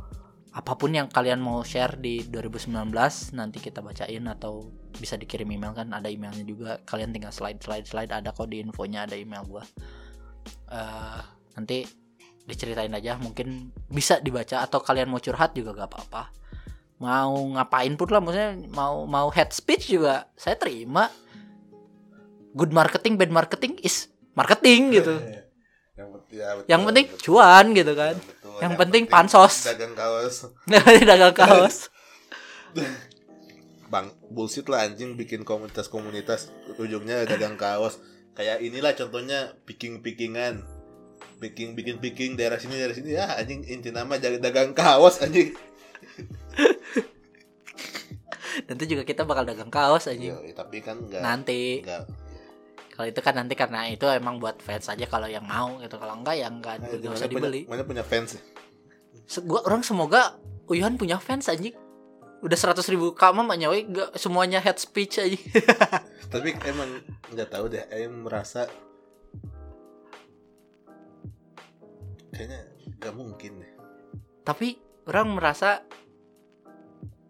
[SPEAKER 2] apapun yang kalian mau share di 2019 nanti kita bacain atau bisa dikirim email kan ada emailnya juga kalian tinggal slide slide slide ada kok di infonya ada email gua Eh, nanti diceritain aja mungkin bisa dibaca atau kalian mau curhat juga gak apa-apa mau ngapain pun lah maksudnya mau mau head speech juga saya terima good marketing bad marketing is marketing gitu
[SPEAKER 3] yang penting ya, betul,
[SPEAKER 2] yang penting
[SPEAKER 3] betul.
[SPEAKER 2] cuan gitu kan (laughs)
[SPEAKER 3] Betul,
[SPEAKER 2] Yang penting pansos.
[SPEAKER 3] dagang kaos
[SPEAKER 2] dagang kaos
[SPEAKER 3] bang bullshit lah anjing bikin komunitas-komunitas ujungnya dagang kaos kayak inilah contohnya picking-pickingan picking bikin picking daerah sini daerah sini ya anjing inti nama jag- dagang kaos anjing
[SPEAKER 2] nanti juga kita bakal dagang kaos aja
[SPEAKER 3] Yo, tapi kan enggak
[SPEAKER 2] nanti
[SPEAKER 3] enggak
[SPEAKER 2] kalau itu kan nanti karena itu emang buat fans aja kalau yang mau gitu kalau enggak ya enggak
[SPEAKER 3] Nah,
[SPEAKER 2] nggak
[SPEAKER 3] mana
[SPEAKER 2] usah
[SPEAKER 3] punya-
[SPEAKER 2] dibeli
[SPEAKER 3] mana punya fans ya?
[SPEAKER 2] Se- gua orang semoga Uyuhan punya fans anjing udah 100.000 ribu kamar mah nyawa enggak semuanya head speech aja
[SPEAKER 3] tapi emang nggak tahu deh em merasa kayaknya nggak mungkin deh
[SPEAKER 2] (laughs) tapi orang merasa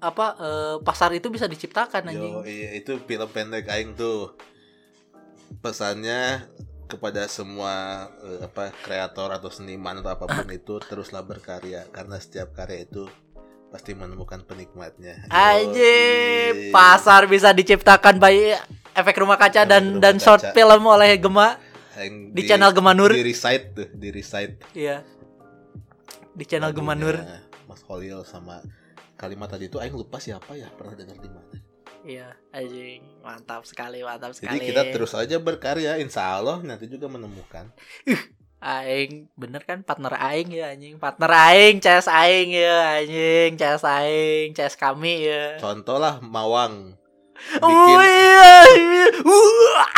[SPEAKER 2] apa eh, pasar itu bisa diciptakan anjing
[SPEAKER 3] Yo, iya, itu film pendek aing tuh. Pesannya kepada semua eh, apa kreator atau seniman atau
[SPEAKER 2] (laughs)
[SPEAKER 3] apapun itu teruslah berkarya karena setiap karya itu pasti menemukan penikmatnya.
[SPEAKER 2] Aji,
[SPEAKER 3] Yoi.
[SPEAKER 2] pasar bisa diciptakan by efek rumah kaca
[SPEAKER 3] Efek
[SPEAKER 2] dan
[SPEAKER 3] rumah
[SPEAKER 2] dan short
[SPEAKER 3] kaca.
[SPEAKER 2] film oleh Gema
[SPEAKER 3] Yang
[SPEAKER 2] di channel Gema Nur.
[SPEAKER 3] Di recite tuh, di recite.
[SPEAKER 2] Iya. Di channel
[SPEAKER 3] lagunya
[SPEAKER 2] Gema Nur.
[SPEAKER 3] Mas Holil sama kalimat tadi itu aing lupa siapa ya pernah dengar di mana.
[SPEAKER 2] Iya, anjing. Mantap sekali, mantap
[SPEAKER 3] Jadi
[SPEAKER 2] sekali.
[SPEAKER 3] kita terus aja berkarya insya Allah nanti juga menemukan.
[SPEAKER 2] aing bener kan partner aing ya anjing, partner aing, CS aing ya anjing, CS aing, CS kami ya.
[SPEAKER 3] Contoh lah Mawang.
[SPEAKER 2] Oh
[SPEAKER 3] Bikin,
[SPEAKER 2] iya. iya. Wah.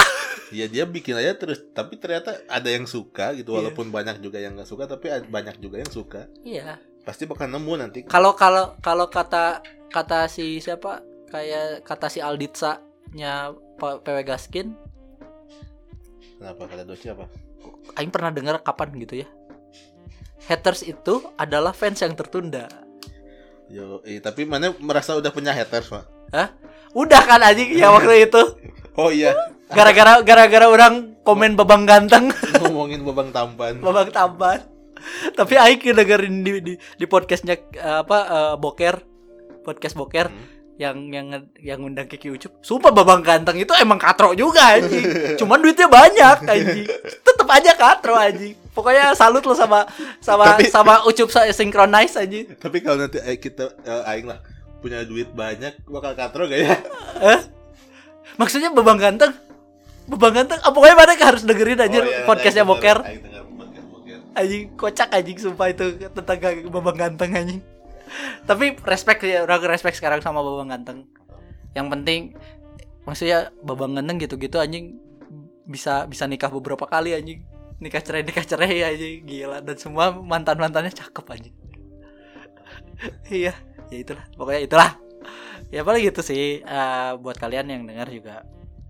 [SPEAKER 3] ya dia bikin aja terus tapi ternyata ada yang suka gitu walaupun banyak juga yang nggak suka tapi ada- banyak juga yang suka.
[SPEAKER 2] Iya.
[SPEAKER 3] Pasti bakal nemu nanti.
[SPEAKER 2] Kalau kalau kalau kata kata si siapa? Kayak kata si Alditsa nya P- PW Gaskin,
[SPEAKER 3] Kenapa kata Doci apa?
[SPEAKER 2] aing pernah dengar kapan gitu ya. Haters itu adalah fans yang tertunda.
[SPEAKER 3] Yo, eh, tapi mana merasa udah punya haters, Pak?
[SPEAKER 2] Udah kan anjing ya waktu itu.
[SPEAKER 3] Oh iya,
[SPEAKER 2] Gara-gara gara-gara orang komen babang ganteng.
[SPEAKER 3] (laughs)
[SPEAKER 2] (laughs)
[SPEAKER 3] ngomongin babang tampan.
[SPEAKER 2] Babak tampan. Tapi Aik dengerin di di, di podcastnya eh, apa eh, Boker, podcast Boker
[SPEAKER 3] Hmm.
[SPEAKER 2] yang yang yang undang Kiki Ucup. Sumpah babang ganteng itu emang katro juga
[SPEAKER 3] (laughs)
[SPEAKER 2] anjing. Cuman duitnya banyak anjing. Tetep aja katro anjing. Pokoknya salut lo sama sama
[SPEAKER 3] Tapi-
[SPEAKER 2] sama Ucup sa- synchronize anjing.
[SPEAKER 3] Tapi kalau nanti eh, kita eh, aing lah punya duit banyak bakal katro
[SPEAKER 2] (laughs)
[SPEAKER 3] gak ya?
[SPEAKER 2] Eh? Maksudnya babang ganteng Babang ganteng, ah, pokoknya mana harus dengerin aja
[SPEAKER 3] Oh iya,
[SPEAKER 2] podcastnya
[SPEAKER 3] aing denger-
[SPEAKER 2] Boker
[SPEAKER 3] Aing denger podcast boker.
[SPEAKER 2] anjing kocak anjing sumpah itu tetangga babang ganteng anjing tapi respect ya orang respect sekarang sama babang ganteng yang penting maksudnya babang ganteng gitu-gitu anjing bisa bisa nikah beberapa kali anjing nikah cerai nikah cerai anjing gila dan semua mantan mantannya cakep anjing (laughs) iya ya itulah pokoknya itulah ya paling gitu sih Eh, buat kalian yang dengar juga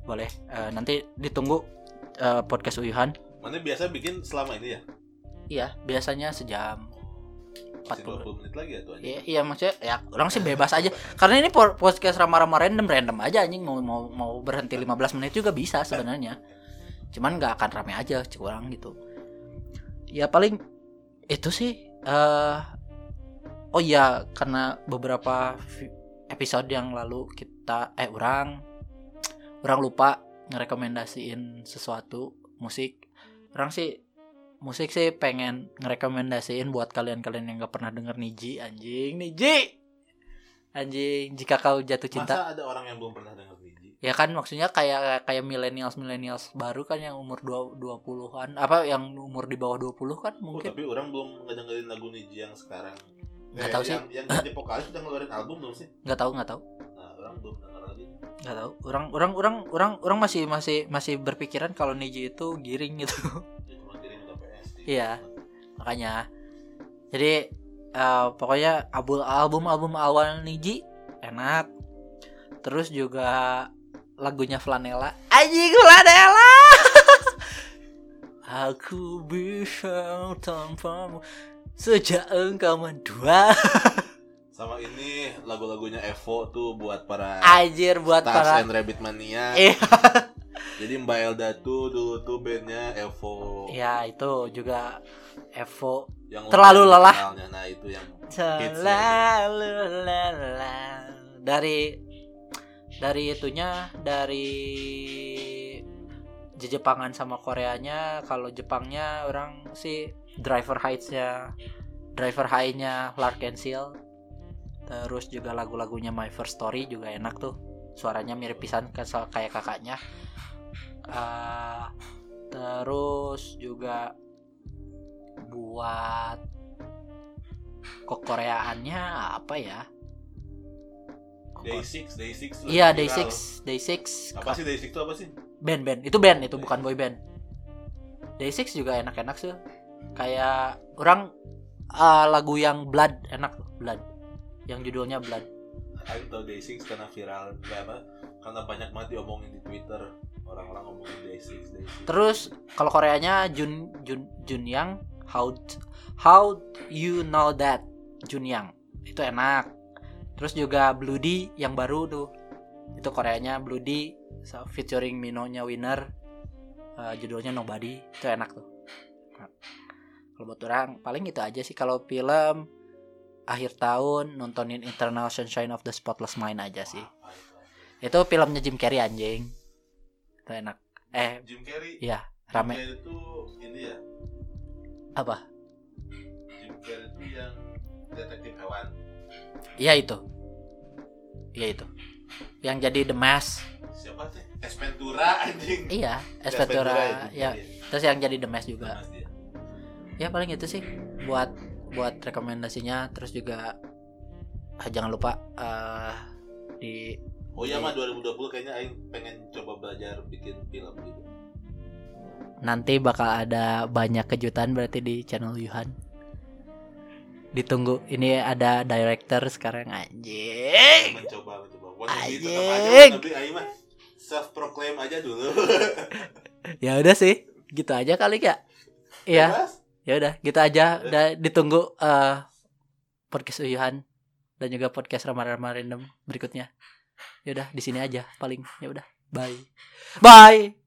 [SPEAKER 2] boleh Eh, nanti ditunggu eh, podcast uyuhan
[SPEAKER 3] Mana biasa bikin selama ini ya?
[SPEAKER 2] Iya, biasanya sejam 40.
[SPEAKER 3] 40 menit lagi ya tuh anjing.
[SPEAKER 2] Iya, iya maksudnya ya orang sih bebas aja. Karena ini por- podcast rama-rama random random aja anjing mau mau mau berhenti 15 menit juga bisa sebenarnya. Cuman nggak akan rame aja kurang gitu. Ya paling itu sih eh oh iya karena beberapa vi- episode yang lalu kita eh orang orang lupa ngerekomendasiin sesuatu musik. Orang sih musik sih pengen ngerekomendasiin buat kalian-kalian yang gak pernah denger Niji anjing Niji anjing jika kau jatuh cinta
[SPEAKER 3] Masa ada orang yang belum pernah denger Niji?
[SPEAKER 2] ya kan maksudnya kayak kayak millennials millennials baru kan yang umur dua 20-an apa yang umur di bawah 20 kan
[SPEAKER 3] Oh,
[SPEAKER 2] mungkin
[SPEAKER 3] tapi orang belum ngedengerin lagu Niji yang sekarang.
[SPEAKER 2] Nggak tahu sih.
[SPEAKER 3] Yang, yang jadi vokalis udah ngeluarin album belum sih?
[SPEAKER 2] nggak tahu nggak tahu
[SPEAKER 3] Nah, orang belum denger lagi.
[SPEAKER 2] nggak tahu orang orang orang orang orang masih masih masih berpikiran kalau Niji itu giring gitu
[SPEAKER 3] Dia cuma kirim ke PS.
[SPEAKER 2] Iya. makanya jadi eh, pokoknya album album album awal Niji enak terus juga lagunya Flanella anjing Flanella (laughs) aku bisa tanpamu sejak engkau mendua
[SPEAKER 3] Sama ini lagu-lagunya Evo tuh buat para
[SPEAKER 2] anjir buat
[SPEAKER 3] Stars
[SPEAKER 2] para
[SPEAKER 3] and Rabbit Mania.
[SPEAKER 2] Iya.
[SPEAKER 3] Jadi Mbak Elda tuh dulu tuh bandnya Evo.
[SPEAKER 2] ya itu juga Evo
[SPEAKER 3] Yang
[SPEAKER 2] Terlalu
[SPEAKER 3] lumayan
[SPEAKER 2] lelah.
[SPEAKER 3] terkenalnya. Nah itu yang
[SPEAKER 2] Selalu lelah dari dari itunya dari Jepangan sama Koreanya kalau Jepangnya orang sih driver heights-nya driver high-nya Lark and Seal terus juga lagu-lagunya My First Story juga enak tuh suaranya mirip pisan ke- so- kayak kakaknya Ah, terus juga buat kekoreaannya apa ya
[SPEAKER 3] Day 6, Day 6.
[SPEAKER 2] Iya Day 6 Day 6
[SPEAKER 3] Apa sih Day 6 itu apa sih?
[SPEAKER 2] band band itu band itu bukan boy band Day 6 juga enak-enak sih kayak orang eh, lagu yang Blood enak tuh, Blood yang judulnya Blood
[SPEAKER 3] Aku tau Day 6 karena viral karena karena banyak banget diomongin di Twitter orang-orang ngomongin Day 6, Day 6.
[SPEAKER 2] terus kalau Koreanya Jun Jun Jun Yang how how you know that Jun Yang itu enak terus juga Bloody yang baru tuh itu Koreanya Bloody so- featuring Minonya Winner eh, judulnya Nobody itu enak tuh Enak. kalau buat orang paling itu aja sih kalau film akhir tahun nontonin Internal Sunshine of the Spotless Mind aja sih itu filmnya Jim Carrey anjing itu enak eh
[SPEAKER 3] Jim Carrey
[SPEAKER 2] Iya,
[SPEAKER 3] Jim
[SPEAKER 2] rame.
[SPEAKER 3] Carrey itu ini ya
[SPEAKER 2] apa
[SPEAKER 3] Jim Carrey itu yang detektif hewan
[SPEAKER 2] iya itu iya itu yang jadi The Mask
[SPEAKER 3] siapa sih Espentura anjing
[SPEAKER 2] iya
[SPEAKER 3] Esventura
[SPEAKER 2] Espetura ya terus yang jadi The Mask juga
[SPEAKER 3] Mas dia.
[SPEAKER 2] ya paling itu sih buat buat rekomendasinya terus juga ah, jangan lupa eh, di
[SPEAKER 3] oh iya mah 2020 kayaknya Aing pengen coba belajar bikin film gitu
[SPEAKER 2] nanti bakal ada banyak kejutan berarti di channel Yuhan ditunggu ini ada director sekarang anjing
[SPEAKER 3] mencoba gitu, mencoba One Day tetap
[SPEAKER 2] Anjing.
[SPEAKER 3] aja tapi Aing mah self proclaim aja dulu
[SPEAKER 2] ya udah sih gitu aja kali ya
[SPEAKER 3] (laughs)
[SPEAKER 2] ya
[SPEAKER 3] Bebas.
[SPEAKER 2] ya udah gitu aja udah ditunggu eh podcast Uyuhan dan juga podcast Rama-Rama Random berikutnya ya udah di sini aja paling ya udah bye bye